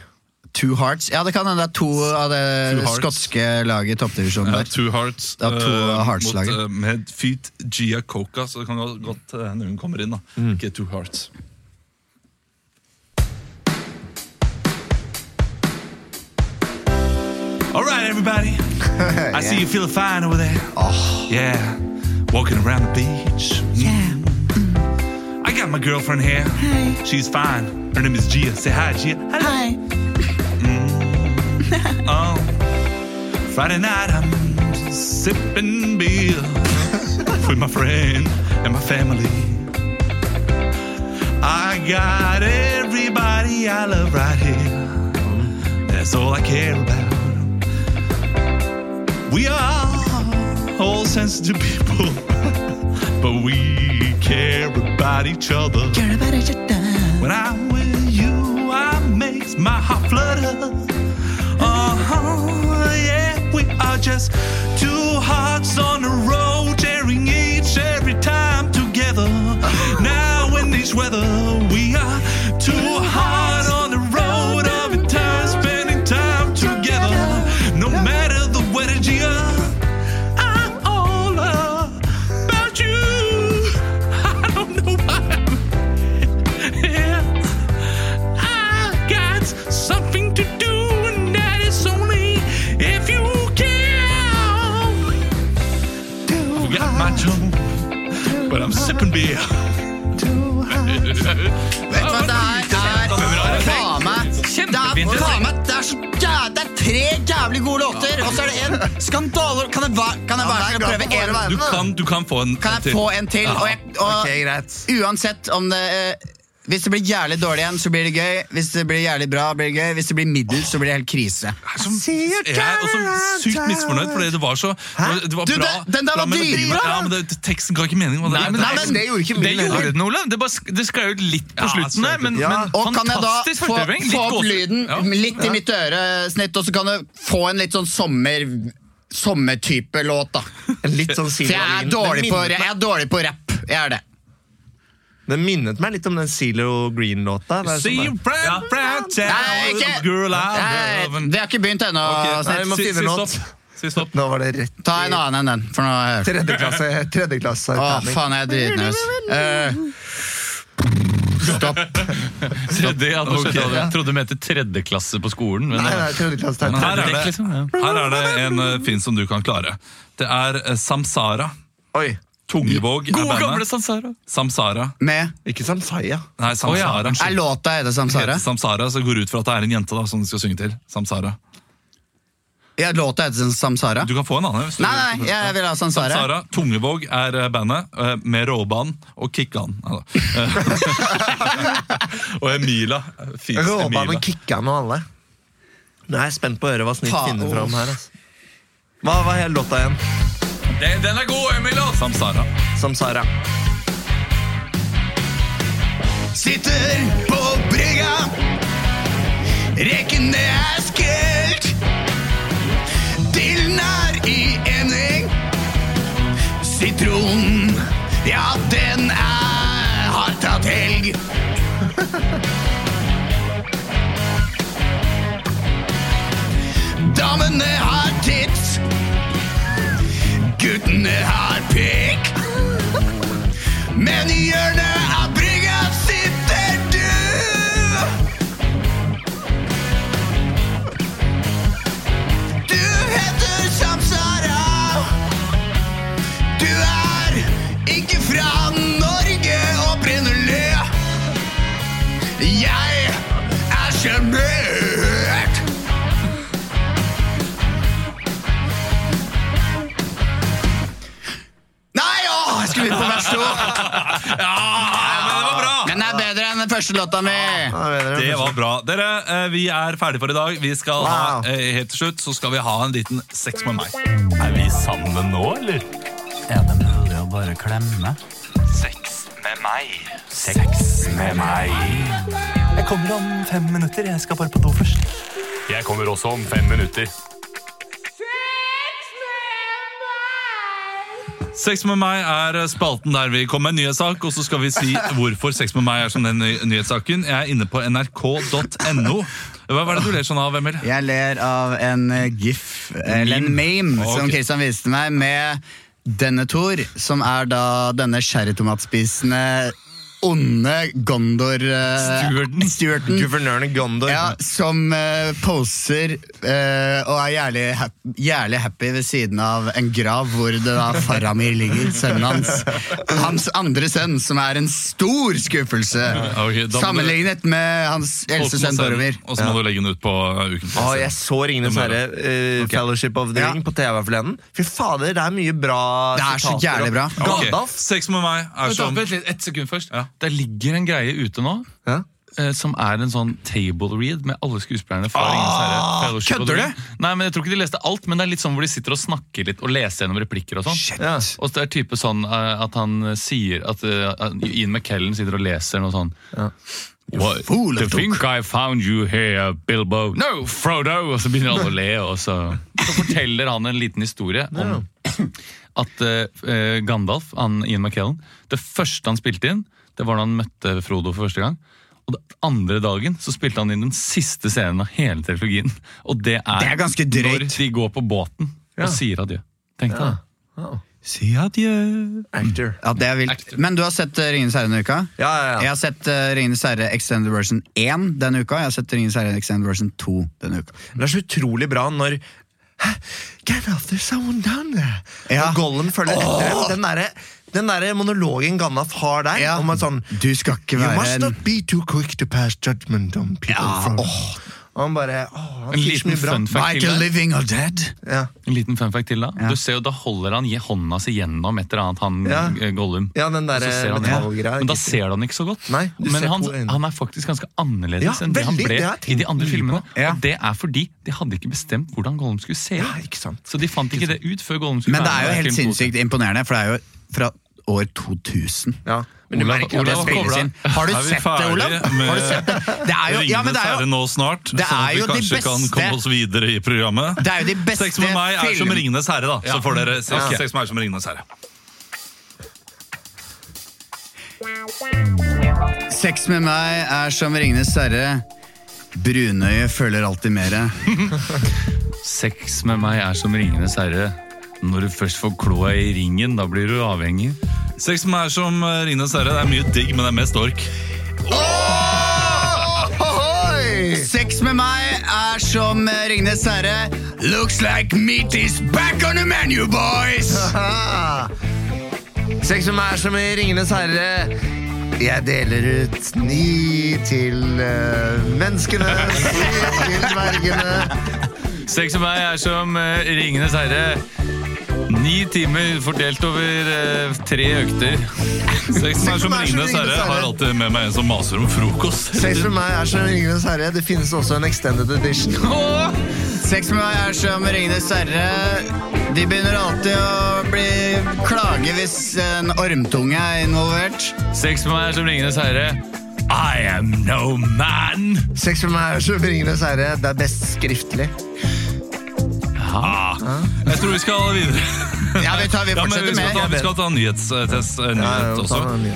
Speaker 2: Two hearts. Ja, det kan hende det er to av det
Speaker 1: Two Hearts.
Speaker 2: skotske laget i toppdivisjonen
Speaker 1: Ja,
Speaker 2: der.
Speaker 1: two Hearts
Speaker 2: Det er to
Speaker 1: eh, mot
Speaker 2: Hearts-laget.
Speaker 1: eh, med Feet Gia Coca, så det kan jo godt eh, hende hun kommer inn. da Ikke Two Hearts. All right, everybody. I see you feel fine over there. Yeah, walking around the beach. Mm. I got my girlfriend here. She's fine. Her name is Gia. Say hi, Gia. Hello.
Speaker 12: Hi.
Speaker 1: Oh, Friday night I'm sipping beer with my friend and my family. I got everybody I love right here. That's all I care about.
Speaker 10: We are all sensitive people, but we care about each other.
Speaker 8: Care about each other.
Speaker 10: When I'm with you, I makes my heart flutter. Uh huh, yeah, we are just two hearts on the road, tearing each every time together. now in this weather, we are two hearts on the road of a time, spending time together. No matter the weather, dear, I'm all about you. I don't know why I'm here. I got something to do, and that is only if you care. I forgot my tone, but I'm sipping beer.
Speaker 2: Vet du hva det her er? Faen meg! Det er, faen meg, det er så jæ- Det er tre jævlig gode låter, og så er det en skandale Kan jeg være kan jeg være så kan jeg prøve en?
Speaker 1: Du kan, du kan få en
Speaker 2: Kan jeg få en til? Og, jeg, og
Speaker 4: Ok, greit.
Speaker 2: uansett om det eh, Hvis det blir jævlig dårlig igjen, så blir det gøy. Hvis det blir jævlig bra, blir det gøy. Hvis det blir middels, så blir det helt krise.
Speaker 1: Jeg er også sykt misfornøyd, fordi det var så det var
Speaker 2: Du,
Speaker 1: bra,
Speaker 2: det- den der
Speaker 1: bra
Speaker 2: var
Speaker 1: melodier,
Speaker 2: dritbra!
Speaker 1: men- Ja, men det, teksten ga ikke mening. og det-
Speaker 2: Nei, men-
Speaker 4: Det gjorde ikke
Speaker 1: Det
Speaker 4: min
Speaker 1: gjorde
Speaker 4: heller.
Speaker 1: den, Ole. Det, bare sk- det sklei ut litt på slutten der, men,
Speaker 4: Ja.
Speaker 1: men
Speaker 2: Og kan jeg da
Speaker 1: fantastisk
Speaker 2: få,
Speaker 1: førstehøving.
Speaker 2: få opp lyden
Speaker 1: Ja.
Speaker 2: litt i mitt øresnitt, og så kan du få en litt sånn sommer sommertype låt, da.
Speaker 4: En Litt sånn
Speaker 2: For jeg
Speaker 4: Silo-lyn.
Speaker 2: er dårlig
Speaker 4: Den
Speaker 2: på,
Speaker 4: minnet
Speaker 2: jeg er dårlig på rap. Jeg er det.
Speaker 4: meg- Den minnet meg litt om den Silo Green-låta. Det er
Speaker 1: See you,
Speaker 4: sånn
Speaker 1: Brad, Brad, tell
Speaker 2: Nei, ikke-
Speaker 1: the girl I love.
Speaker 2: Nei, Det har ikke begynt ennå.
Speaker 1: Ok,
Speaker 2: Snitt.
Speaker 4: nei, vi må
Speaker 1: si-
Speaker 4: finne
Speaker 1: si
Speaker 4: en låt.
Speaker 1: stopp. Si stopp.
Speaker 4: der. Nå var det rett
Speaker 2: Ta en annen enn den. For nå har jeg hørt.
Speaker 4: tredjeklasse. tredjeklasse
Speaker 2: Å,
Speaker 4: terning.
Speaker 2: faen, jeg er dritnervøs. Eh, stopp.
Speaker 3: Tredje, ja, nå skjønte jeg det. Jeg trodde du mente tredjeklasse på skolen. Men
Speaker 4: Nei, nei, tredjeklasse
Speaker 3: men
Speaker 4: terning.
Speaker 3: her, er
Speaker 1: tredje,
Speaker 3: det,
Speaker 1: liksom,
Speaker 3: her er det en eh, fin som du kan klare. Det er eh, Samsara.
Speaker 4: Oi.
Speaker 1: Tungevåg
Speaker 3: God
Speaker 1: er
Speaker 3: gamle
Speaker 1: bandet.
Speaker 3: Sansara.
Speaker 1: Samsara.
Speaker 2: Med
Speaker 4: Ikke Samsaya.
Speaker 1: Nei, Samsara.
Speaker 2: Er låta heter Samsara?
Speaker 1: Heter Samsara, så går det ut fra at det er en jente da, som du skal synge til. Samsara.
Speaker 2: Ja, låta heter Samsara?
Speaker 1: Du kan få en annen. hvis du-
Speaker 2: Nei, nei, jeg vil ha Samsara.
Speaker 1: Sara Tungevåg er eh, bandet, eh, med Råban og Kikkan. Nei da. Eh, og Emila. Fis
Speaker 4: Råbanen
Speaker 1: Emila.
Speaker 4: og kicka med alle. Nå er jeg spent på å høre hva Snitt
Speaker 2: Ta-
Speaker 4: finner
Speaker 2: Åh.
Speaker 4: fram her. Altså. Hva var hele låta igjen?
Speaker 1: Den, den er god, Emila! Samsara.
Speaker 4: Samsara.
Speaker 2: Sitter på brygga Reken det er skelt Dillen er i emning Sitronen Ja, den er Har tatt helg Damene har tits Guttene har pikk men i hjørnet av brygga sitter du. Du heter Samsara. Du er ikke fra Norge opprinnelig. Jeg er sjarmert. Nei, åh, jeg skulle begynt på vers to.
Speaker 1: Men det var bra!
Speaker 2: Den er bedre enn den første låta mi.
Speaker 1: Det var bra. Dere, eh, vi er ferdige for i dag. Vi skal ha,
Speaker 4: Wow.
Speaker 1: eh, helt til slutt så skal vi ha en liten sex med meg.
Speaker 6: Er vi sammen nå, eller?
Speaker 13: Er det mulig å bare klemme?
Speaker 6: Sex med meg. Sex med meg.
Speaker 13: Jeg kommer om fem minutter. Jeg skal bare på do først.
Speaker 6: Jeg kommer også om fem minutter.
Speaker 1: Sex med meg er spalten der vi kommer med en nyhetssak, og så skal vi si hvorfor sex med meg er som den ny- nyhetssaken. Jeg er inne på nrk.no. Hva hva er det du ler sånn av, Emil?
Speaker 2: Jeg ler av en eh, gif, eller en meme,
Speaker 1: Ok.
Speaker 2: som Kristian viste meg, med denne Thor, som er da denne sherrytomatspisende, onde Gondor eh,
Speaker 1: Stewarden.
Speaker 2: Stewarden.
Speaker 4: Guvernøren i Gondor.
Speaker 2: Ja, som eh, poser eh, og er jævlig happy, jævlig happy ved siden av en grav hvor det da Faramir ligger, sønnen hans. Hans andre sønn, som er en stor skuffelse,
Speaker 1: ok, da må du-
Speaker 2: sammenlignet med hans eldste sønn Boromir.
Speaker 1: Og så må du legge den ut på eh, uken.
Speaker 2: Ah,
Speaker 4: Å, jeg så Ringenes
Speaker 1: Det må
Speaker 4: herre, eh, Fellowship of the
Speaker 2: Ja.
Speaker 4: Ring, på TV forleden. Fy fader, det er mye bra
Speaker 2: Det er så
Speaker 4: sitater
Speaker 2: jævlig
Speaker 4: og-
Speaker 2: bra.
Speaker 1: Ok,
Speaker 4: Gandalf.
Speaker 1: Sex med meg er
Speaker 2: sånn-
Speaker 3: Vent da,
Speaker 1: som
Speaker 3: Vent litt, ett sekund først. Det ligger en greie ute nå
Speaker 4: Ja.
Speaker 3: eh, som er en sånn table read med alle skuespillerne. fra Ringenes Herre, Fellowship og
Speaker 2: Ah, kødder
Speaker 3: The Ring. Nei, men Jeg tror ikke de leste alt, men det er litt sånn hvor de sitter og snakker litt og leser gjennom replikker. Og sånn.
Speaker 2: Ja.
Speaker 3: Og det er type sånn eh, at han eh, sier at eh, Ian McKellen sitter og leser noe sånn What,
Speaker 2: fool of
Speaker 3: to think I found you here, Bilbo. No, Frodo! Og så begynner alle å le, og så, så forteller han en liten historie om at eh, Gandalf, han, Ian McKellen, det første han spilte inn, det var da han møtte Frodo for første gang. Og den andre dagen så spilte han inn den siste scenen av hele trilogien. Og det er,
Speaker 2: Det er ganske drøyt.
Speaker 3: når de går på båten
Speaker 4: Ja.
Speaker 3: og sier adjø. Tenk deg det.
Speaker 2: Si adjø.
Speaker 4: Actor.
Speaker 2: Ja, det er vilt. Men du har sett eh, Ringenes herre denne uka?
Speaker 4: Ja, ja,
Speaker 2: Jeg
Speaker 4: ja.
Speaker 2: har sett eh, Ringenes herre extended version 1 denne uka. Jeg har sett Ringenes herre extended version 2 denne uka.
Speaker 4: Det er så utrolig bra når «Hæ? Get off there's someone down there!
Speaker 2: Ja.
Speaker 4: Og Gollum følger etter dem. Den derre den der monologen Gandalf har der,
Speaker 2: Ja.
Speaker 4: om at sånn
Speaker 2: Du skal ikke
Speaker 4: You
Speaker 2: være
Speaker 4: must
Speaker 2: en
Speaker 4: not be too quick to pass judgment on people
Speaker 2: Ja,
Speaker 4: from
Speaker 2: åh.
Speaker 4: Og han bare åh, han
Speaker 3: En
Speaker 4: sier så
Speaker 3: liten
Speaker 4: mye bra.
Speaker 3: fun fact til
Speaker 2: Michael
Speaker 3: der.
Speaker 2: living or dead.
Speaker 4: Ja.
Speaker 3: En liten fun fact til da.
Speaker 2: Ja.
Speaker 3: Du ser jo, Da holder han je- hånda si gjennom et eller annet, han
Speaker 4: Ja.
Speaker 3: eh, Gollum.
Speaker 4: ja, den
Speaker 3: Og så
Speaker 4: derre
Speaker 3: ser han-
Speaker 4: metallgreia.
Speaker 3: Men da ser du han ikke så godt.
Speaker 4: Nei, du
Speaker 3: Men
Speaker 4: ser
Speaker 3: han,
Speaker 4: to øyne.
Speaker 3: han er faktisk ganske annerledes
Speaker 4: Ja,
Speaker 3: enn det han
Speaker 4: veldig,
Speaker 3: ble
Speaker 4: det har jeg
Speaker 3: i
Speaker 4: tenkt
Speaker 3: de andre
Speaker 4: mye
Speaker 3: filmene.
Speaker 4: på. Ja.
Speaker 3: Og det er fordi de hadde ikke bestemt hvordan Gollum skulle se ut.
Speaker 4: Ja, ikke sant.
Speaker 3: Så de fant ikke det ut før Gollum skulle
Speaker 2: Men det
Speaker 3: være
Speaker 2: er jo
Speaker 3: med i
Speaker 2: helt
Speaker 3: film to.
Speaker 2: sinnssykt imponerende, for det er jo fra år 2000.
Speaker 4: Ja. Men du
Speaker 3: Olav-
Speaker 4: merker jo
Speaker 3: Olav
Speaker 4: det
Speaker 2: Det
Speaker 3: har
Speaker 2: spilles
Speaker 3: koblet.
Speaker 2: inn. Har du
Speaker 3: Er vi
Speaker 2: sett det,
Speaker 3: ferdige
Speaker 2: Olav? Har du
Speaker 3: med
Speaker 2: sett det? Det er jo, ja, men det er jo,
Speaker 1: nå snart,
Speaker 2: det
Speaker 1: sånn at
Speaker 2: er
Speaker 1: vi
Speaker 2: jo de
Speaker 1: kanskje kan
Speaker 2: beste-
Speaker 1: komme oss videre i programmet.
Speaker 2: det er jo de beste
Speaker 1: Sex med meg er som
Speaker 2: film-
Speaker 1: Ringenes herre, da. Så får dere se.
Speaker 4: Ja.
Speaker 1: Sex med meg er som Ringenes herre.
Speaker 2: Sex med meg er som Ringenes herre. Brunøye føler alltid mere.
Speaker 3: Sex med meg er som Ringenes herre. Når du først får kloa i ringen, da blir du avhengig.
Speaker 1: Sex med meg er som eh, Ringenes herre. Det er mye digg, men det er mest ork.
Speaker 2: Sex med meg er som Ringenes herre. Looks like meat is back on the menu, boys!
Speaker 4: Sex med meg er som i Ringenes herre. Jeg deler ut ni til eh, menneskene, syv til dvergene.
Speaker 3: Sex med meg er som eh, Ringenes herre. Ni timer fordelt over eh, tre økter.
Speaker 1: Sex med meg er
Speaker 4: meg er
Speaker 1: som
Speaker 4: som
Speaker 1: Ringenes herre.
Speaker 4: Ringenes herre.
Speaker 1: Har alltid med meg en som maser om frokost.
Speaker 4: Sex med meg er som i Ringenes herre. Det finnes også en extended edition.
Speaker 2: Sex med meg er som Ringenes herre. De begynner alltid å bli klage hvis en ormtunge er involvert.
Speaker 3: Sex med meg er som Ringenes herre. I am no man.
Speaker 4: Sex med meg er som i Ringenes herre. Det er best skriftlig.
Speaker 1: Jeg tror vi skal videre.
Speaker 2: Ja, vi, tar, vi
Speaker 1: Ja, men
Speaker 2: fortsetter
Speaker 1: vi skal, ta,
Speaker 2: med.
Speaker 1: vi skal ta en nyhetstest. eh,
Speaker 4: Ja, ja,
Speaker 1: Nyhet
Speaker 4: ta
Speaker 1: også.
Speaker 4: en
Speaker 1: Eh,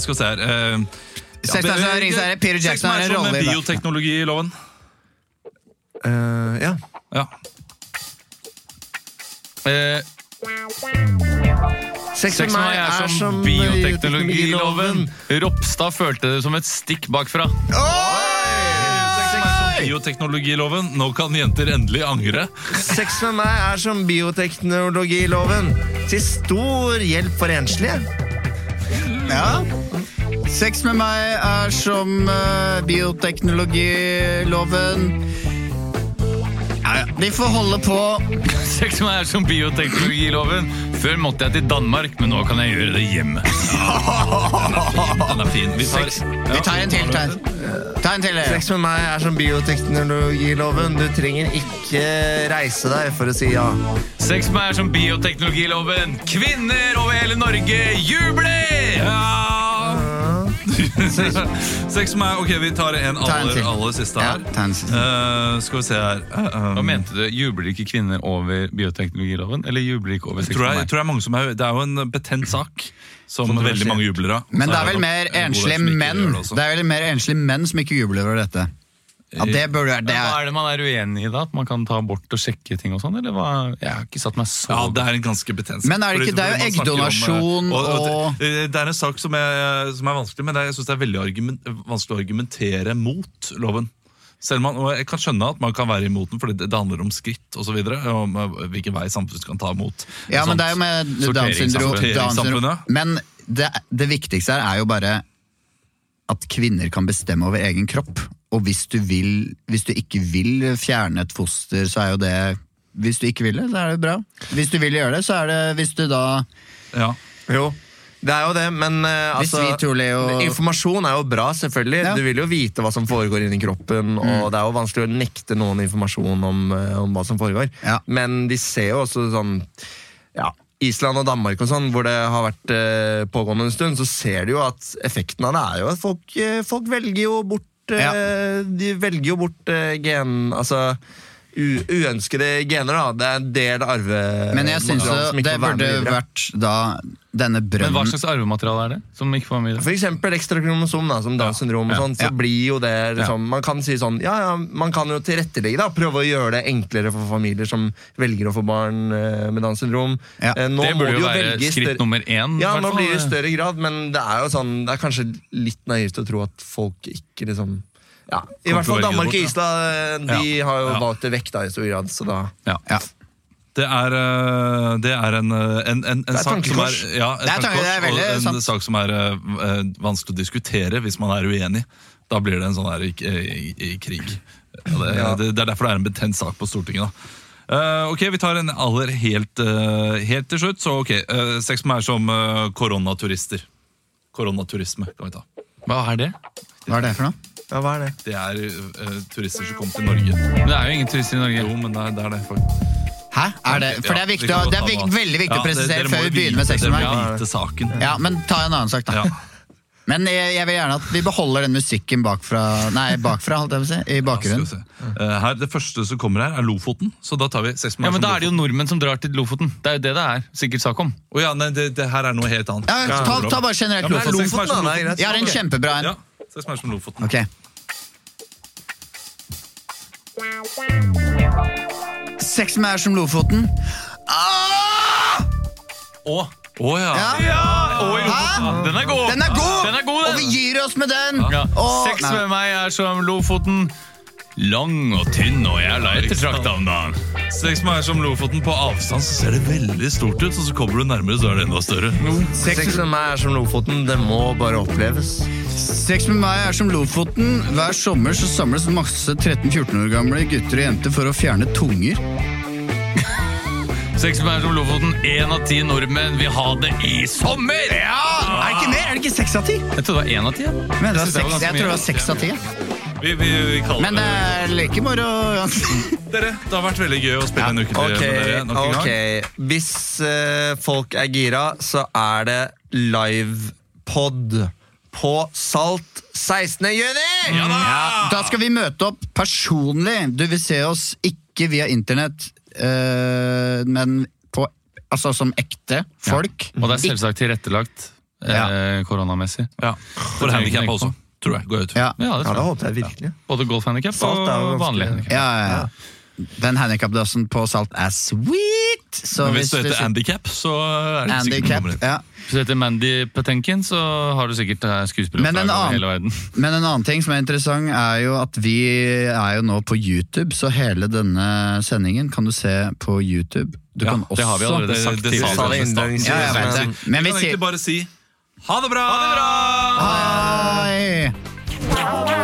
Speaker 1: skal vi se her eh, ja,
Speaker 2: Sex med meg som Ringenes herre. Peter
Speaker 1: Sex
Speaker 2: Jackson
Speaker 1: med
Speaker 2: har
Speaker 1: meg
Speaker 2: en
Speaker 1: som
Speaker 2: rolle i det.
Speaker 1: bioteknologiloven.
Speaker 4: Eh, ja.
Speaker 1: Ja.
Speaker 3: Eh,
Speaker 4: Sex,
Speaker 3: sex med meg er som bioteknologiloven. Ropstad følte det som et stikk bakfra.
Speaker 1: Sex med meg som Bioteknologiloven. Nå kan jenter endelig angre.
Speaker 4: Sex med meg er som bioteknologiloven. Til stor hjelp for enslige.
Speaker 2: Ja. Sex med meg er som eh, bioteknologiloven. Ja, ja, de får holde på.
Speaker 3: Sex med meg er som bioteknologiloven. Før måtte jeg til Danmark, men nå kan jeg gjøre det hjemme.
Speaker 1: Den er fin. Vi tar,
Speaker 2: Vi tar en til. Ta en, ta en til. dere.
Speaker 4: Sex med meg er som bioteknologiloven. Du trenger ikke reise deg for å si ja.
Speaker 3: Sex med meg er som bioteknologiloven. Kvinner over hele Norge jubler!
Speaker 1: Sex med meg Ok, vi tar en
Speaker 2: Ta en
Speaker 1: aller,
Speaker 2: til.
Speaker 1: aller siste
Speaker 2: Ja,
Speaker 1: her.
Speaker 2: ta en siste.
Speaker 1: Eh, skal vi se her Eh,
Speaker 3: Hva
Speaker 1: eh,
Speaker 3: mente du? Jubler ikke kvinner over bioteknologiloven? Eller jubler ikke over sex
Speaker 1: tror
Speaker 3: med
Speaker 1: jeg,
Speaker 3: meg?
Speaker 1: tror jeg mange som er, det er jo en betent sak som,
Speaker 4: Som
Speaker 1: veldig mange jubler av.
Speaker 2: Men
Speaker 1: Så
Speaker 2: det er
Speaker 1: nok
Speaker 2: vel mer
Speaker 1: en god del
Speaker 2: enslige
Speaker 1: som ikke
Speaker 2: menn
Speaker 1: gjør det også.
Speaker 2: Det er vel mer enslige menn som ikke jubler over dette. Ja, det burde være det.
Speaker 3: Hva
Speaker 2: Er.
Speaker 3: er det man er uenig i da? At man kan ta abort og sjekke ting og sånn? Eller hva? Jeg har ikke satt meg så
Speaker 1: Ja, det er en ganske betent sak.
Speaker 2: Men er det
Speaker 1: Fordi-
Speaker 2: ikke- det er jo
Speaker 1: fordi man snakker om, eh,
Speaker 2: eggdonasjon og-
Speaker 1: det, eh, det er en sak som er, som er vanskelig, men det er, jeg synes det er veldig argument, vanskelig å argumentere mot loven. Selv om man, og jeg kan skjønne at man kan være imot den, fordi det, det handler om skritt og så videre, om eh, hvilken vei samfunnet kan ta imot.
Speaker 2: Ja, men det er jo med Downs syndrom. Downs syndrom.
Speaker 1: Sorteringssamfunnet.
Speaker 2: Men det, det viktigste her er jo bare at kvinner kan bestemme over egen kropp. Og hvis du, vil, hvis du ikke vil fjerne et foster, så er jo det Hvis du ikke vil det, så er det bra. Hvis du vil gjøre det, så er det Hvis du da
Speaker 1: Ja.
Speaker 4: Jo. Det er jo det, men eh,
Speaker 2: Hvis
Speaker 4: altså,
Speaker 2: vi to, Leo-
Speaker 4: informasjon er jo bra, selvfølgelig.
Speaker 2: Ja. Mm.
Speaker 4: Du vil jo vite hva som foregår inni kroppen, og det er jo vanskelig å nekte noen informasjon om, eh, om hva som foregår.
Speaker 2: Ja.
Speaker 4: Men de ser jo også sånn ja, Island og Danmark og sånn, hvor det har vært eh, pågående en stund, så ser du jo at effekten av det er jo at folk, eh, folk velger jo bort eh, De velger jo bort eh, gen... Altså u uønskede gener, da. Det er en del arve...
Speaker 2: Men jeg syns
Speaker 4: materiale
Speaker 2: jo
Speaker 4: som ikke
Speaker 2: det
Speaker 4: får være med
Speaker 2: burde
Speaker 4: videre.
Speaker 2: vært da denne
Speaker 1: Men hva
Speaker 2: brønnen
Speaker 1: slags arvemateriale er det? Som ikke får med
Speaker 4: For
Speaker 1: videre?
Speaker 4: eksempel ekstrakromosom, da, som Downs syndrom, og
Speaker 1: Ja.
Speaker 4: sånn, så
Speaker 2: Ja.
Speaker 4: blir jo det liksom, Man kan si sånn Ja, ja, man kan jo tilrettelegge, da. Prøve å gjøre det enklere for familier som velger å få barn eh, med Downs syndrom.
Speaker 2: Ja.
Speaker 4: Eh, nå
Speaker 1: Det
Speaker 4: må
Speaker 1: burde
Speaker 4: de
Speaker 1: jo
Speaker 4: velge i
Speaker 1: være
Speaker 4: større-
Speaker 1: skritt nummer én.
Speaker 4: Ja,
Speaker 1: i hvert
Speaker 4: nå
Speaker 1: fall. eh.
Speaker 4: blir det i større grad, men det er jo sånn Det er kanskje litt naivt å tro at folk ikke liksom ja, I
Speaker 1: Kommer
Speaker 4: hvert fall
Speaker 1: til å velge det
Speaker 4: Danmark
Speaker 1: bort,
Speaker 4: og
Speaker 1: ja.
Speaker 4: Island eh, De
Speaker 1: Ja.
Speaker 4: har jo
Speaker 1: Ja.
Speaker 4: valgt det vekk da i stor grad, så da
Speaker 1: Ja.
Speaker 2: Ja.
Speaker 1: Det er, øh, det er en, øh, en, en,
Speaker 4: er
Speaker 1: en sak som er,
Speaker 4: tankekors.
Speaker 1: ja, et
Speaker 2: Det er tanke-
Speaker 1: tankekors,
Speaker 2: det er veldig
Speaker 1: og en
Speaker 2: sant.
Speaker 1: sak som er øh, øh, vanskelig å diskutere hvis man er uenig. Da blir det en sånn her i, i, i krig. Ja, det, det, det er derfor det er en betent sak på Stortinget. da. Eh, ok, Vi tar en aller helt, eh, helt til slutt. Så ok, eh, Sex med meg er som eh, koronaturister. Koronaturisme kan vi ta. Hva er det?
Speaker 2: Hva er det for noe?
Speaker 4: Ja, hva er det?
Speaker 1: Det er eh, turister som kommer til Norge. Men det er jo ingen turister i Norge.
Speaker 3: Jo, men det er, det er det. faktisk.
Speaker 2: Hæ? Er det, for det
Speaker 1: Ja,
Speaker 2: er, viktig,
Speaker 1: vi kan
Speaker 2: å-
Speaker 1: godt
Speaker 2: det er
Speaker 1: ta
Speaker 2: vik,
Speaker 1: det.
Speaker 2: veldig
Speaker 1: Ja,
Speaker 2: viktig å
Speaker 1: det-
Speaker 2: presisere
Speaker 1: dere må
Speaker 2: før vi
Speaker 1: jo
Speaker 2: begynner med
Speaker 1: vite-
Speaker 2: sex med
Speaker 1: dere må
Speaker 2: meg.
Speaker 1: vite saken.
Speaker 2: Ja, men ta en annen sak, da.
Speaker 1: Ja.
Speaker 2: Men jeg, jeg vil gjerne at vi beholder den musikken bakfra Nei, bakfra, holdt jeg på å si. I bakgrunnen.
Speaker 1: Skal vi se. Eh, her, det første som kommer her, er Lofoten. Så da tar vi seks
Speaker 3: Ja,
Speaker 1: minutter.
Speaker 3: men Da er det jo nordmenn som drar til Lofoten. Det er jo det det er sikkert sak om.
Speaker 1: Å ja, nei, det, det her er noe helt annet.
Speaker 2: Ja, ta, ta bare
Speaker 1: Ja,
Speaker 2: generelt
Speaker 1: men det er
Speaker 2: Lofoten.
Speaker 1: Lofoten, da, det er greit.
Speaker 2: Jeg har en kjempebra en.
Speaker 1: Ja, seks minutter som Lofoten.
Speaker 2: Ok. Sex med er som Lofoten. Ah!
Speaker 1: Å å ja.
Speaker 2: Ja. Hæ?
Speaker 3: Den er god!
Speaker 2: Den er god!
Speaker 3: Den er god,
Speaker 2: Og
Speaker 3: den!
Speaker 2: vi gir oss med den!
Speaker 3: Ja.
Speaker 2: Og-
Speaker 3: Sex
Speaker 2: Nei.
Speaker 3: med meg er som Lofoten. Lang og tynn og jævla ettertrakta om dagen.
Speaker 1: Seks med er som Lofoten. På avstand så ser det veldig stort ut, og så kommer du nærmere, så er det enda større.
Speaker 4: Sex med meg er som Lofoten, det må bare oppleves.
Speaker 2: Sex med meg er som Lofoten. Hver sommer så samles masse 13-14 år gamle gutter og jenter for å fjerne tunger.
Speaker 3: Sex med meg er som Lofoten. Én av ti nordmenn vil ha det i sommer!
Speaker 2: Er det ikke mer? Er det ikke seks av ti?
Speaker 3: Jeg trodde det var én av ti. jeg.
Speaker 2: Men det var
Speaker 3: Jeg synes det var
Speaker 2: seks-
Speaker 3: ganske
Speaker 2: Jeg tror det
Speaker 3: mye.
Speaker 2: var seks av ti. ja.
Speaker 1: Vi, vi, vi kaller
Speaker 2: Men det er like moro uansett.
Speaker 1: det Dere, det har vært veldig gøy å spille en uke til
Speaker 4: Ok,
Speaker 1: med dere. nok en
Speaker 4: ok.
Speaker 1: gang.
Speaker 4: Hvis eh, folk er gira, så er det livepod på Salt 16. juni! Ja
Speaker 2: Da skal vi møte opp personlig. Du vil se oss ikke via internett, eh, men på, altså som ekte folk.
Speaker 3: Og det er selvsagt tilrettelagt eh, koronamessig.
Speaker 1: Ja. For handikappa også, tror jeg. Går jeg ut.
Speaker 2: Ja.
Speaker 3: Ja, det
Speaker 4: det
Speaker 3: tror jeg.
Speaker 4: håper jeg virkelig.
Speaker 3: Både golfhandikap
Speaker 4: Salt er jo
Speaker 3: og
Speaker 4: ganske-
Speaker 3: vanlig handikap.
Speaker 2: Ja, ja, ja. Den handikapdassen på Salt er sweet! Så
Speaker 1: Men hvis du heter
Speaker 2: ser-
Speaker 1: handicap, så er det sikkert
Speaker 2: Handicap,
Speaker 1: nummer ett.
Speaker 2: ja.
Speaker 3: Hvis du heter Mandy Patenkin, så har du sikkert eh,
Speaker 2: Men en
Speaker 3: skuespillerfag over
Speaker 2: annen-
Speaker 3: hele verden.
Speaker 2: Men en annen ting som er interessant, er jo at vi er jo nå på YouTube, så hele denne sendingen kan du se på YouTube. Du
Speaker 3: Ja,
Speaker 2: kan også
Speaker 3: det har vi allerede sagt
Speaker 1: det
Speaker 3: tidligere.
Speaker 1: sa vi i starten.
Speaker 4: innledningsvis.
Speaker 2: Ja, jeg vet det. Men
Speaker 1: Vi
Speaker 2: vi
Speaker 1: kan
Speaker 2: sier
Speaker 1: egentlig bare si ha det bra!
Speaker 2: Hei!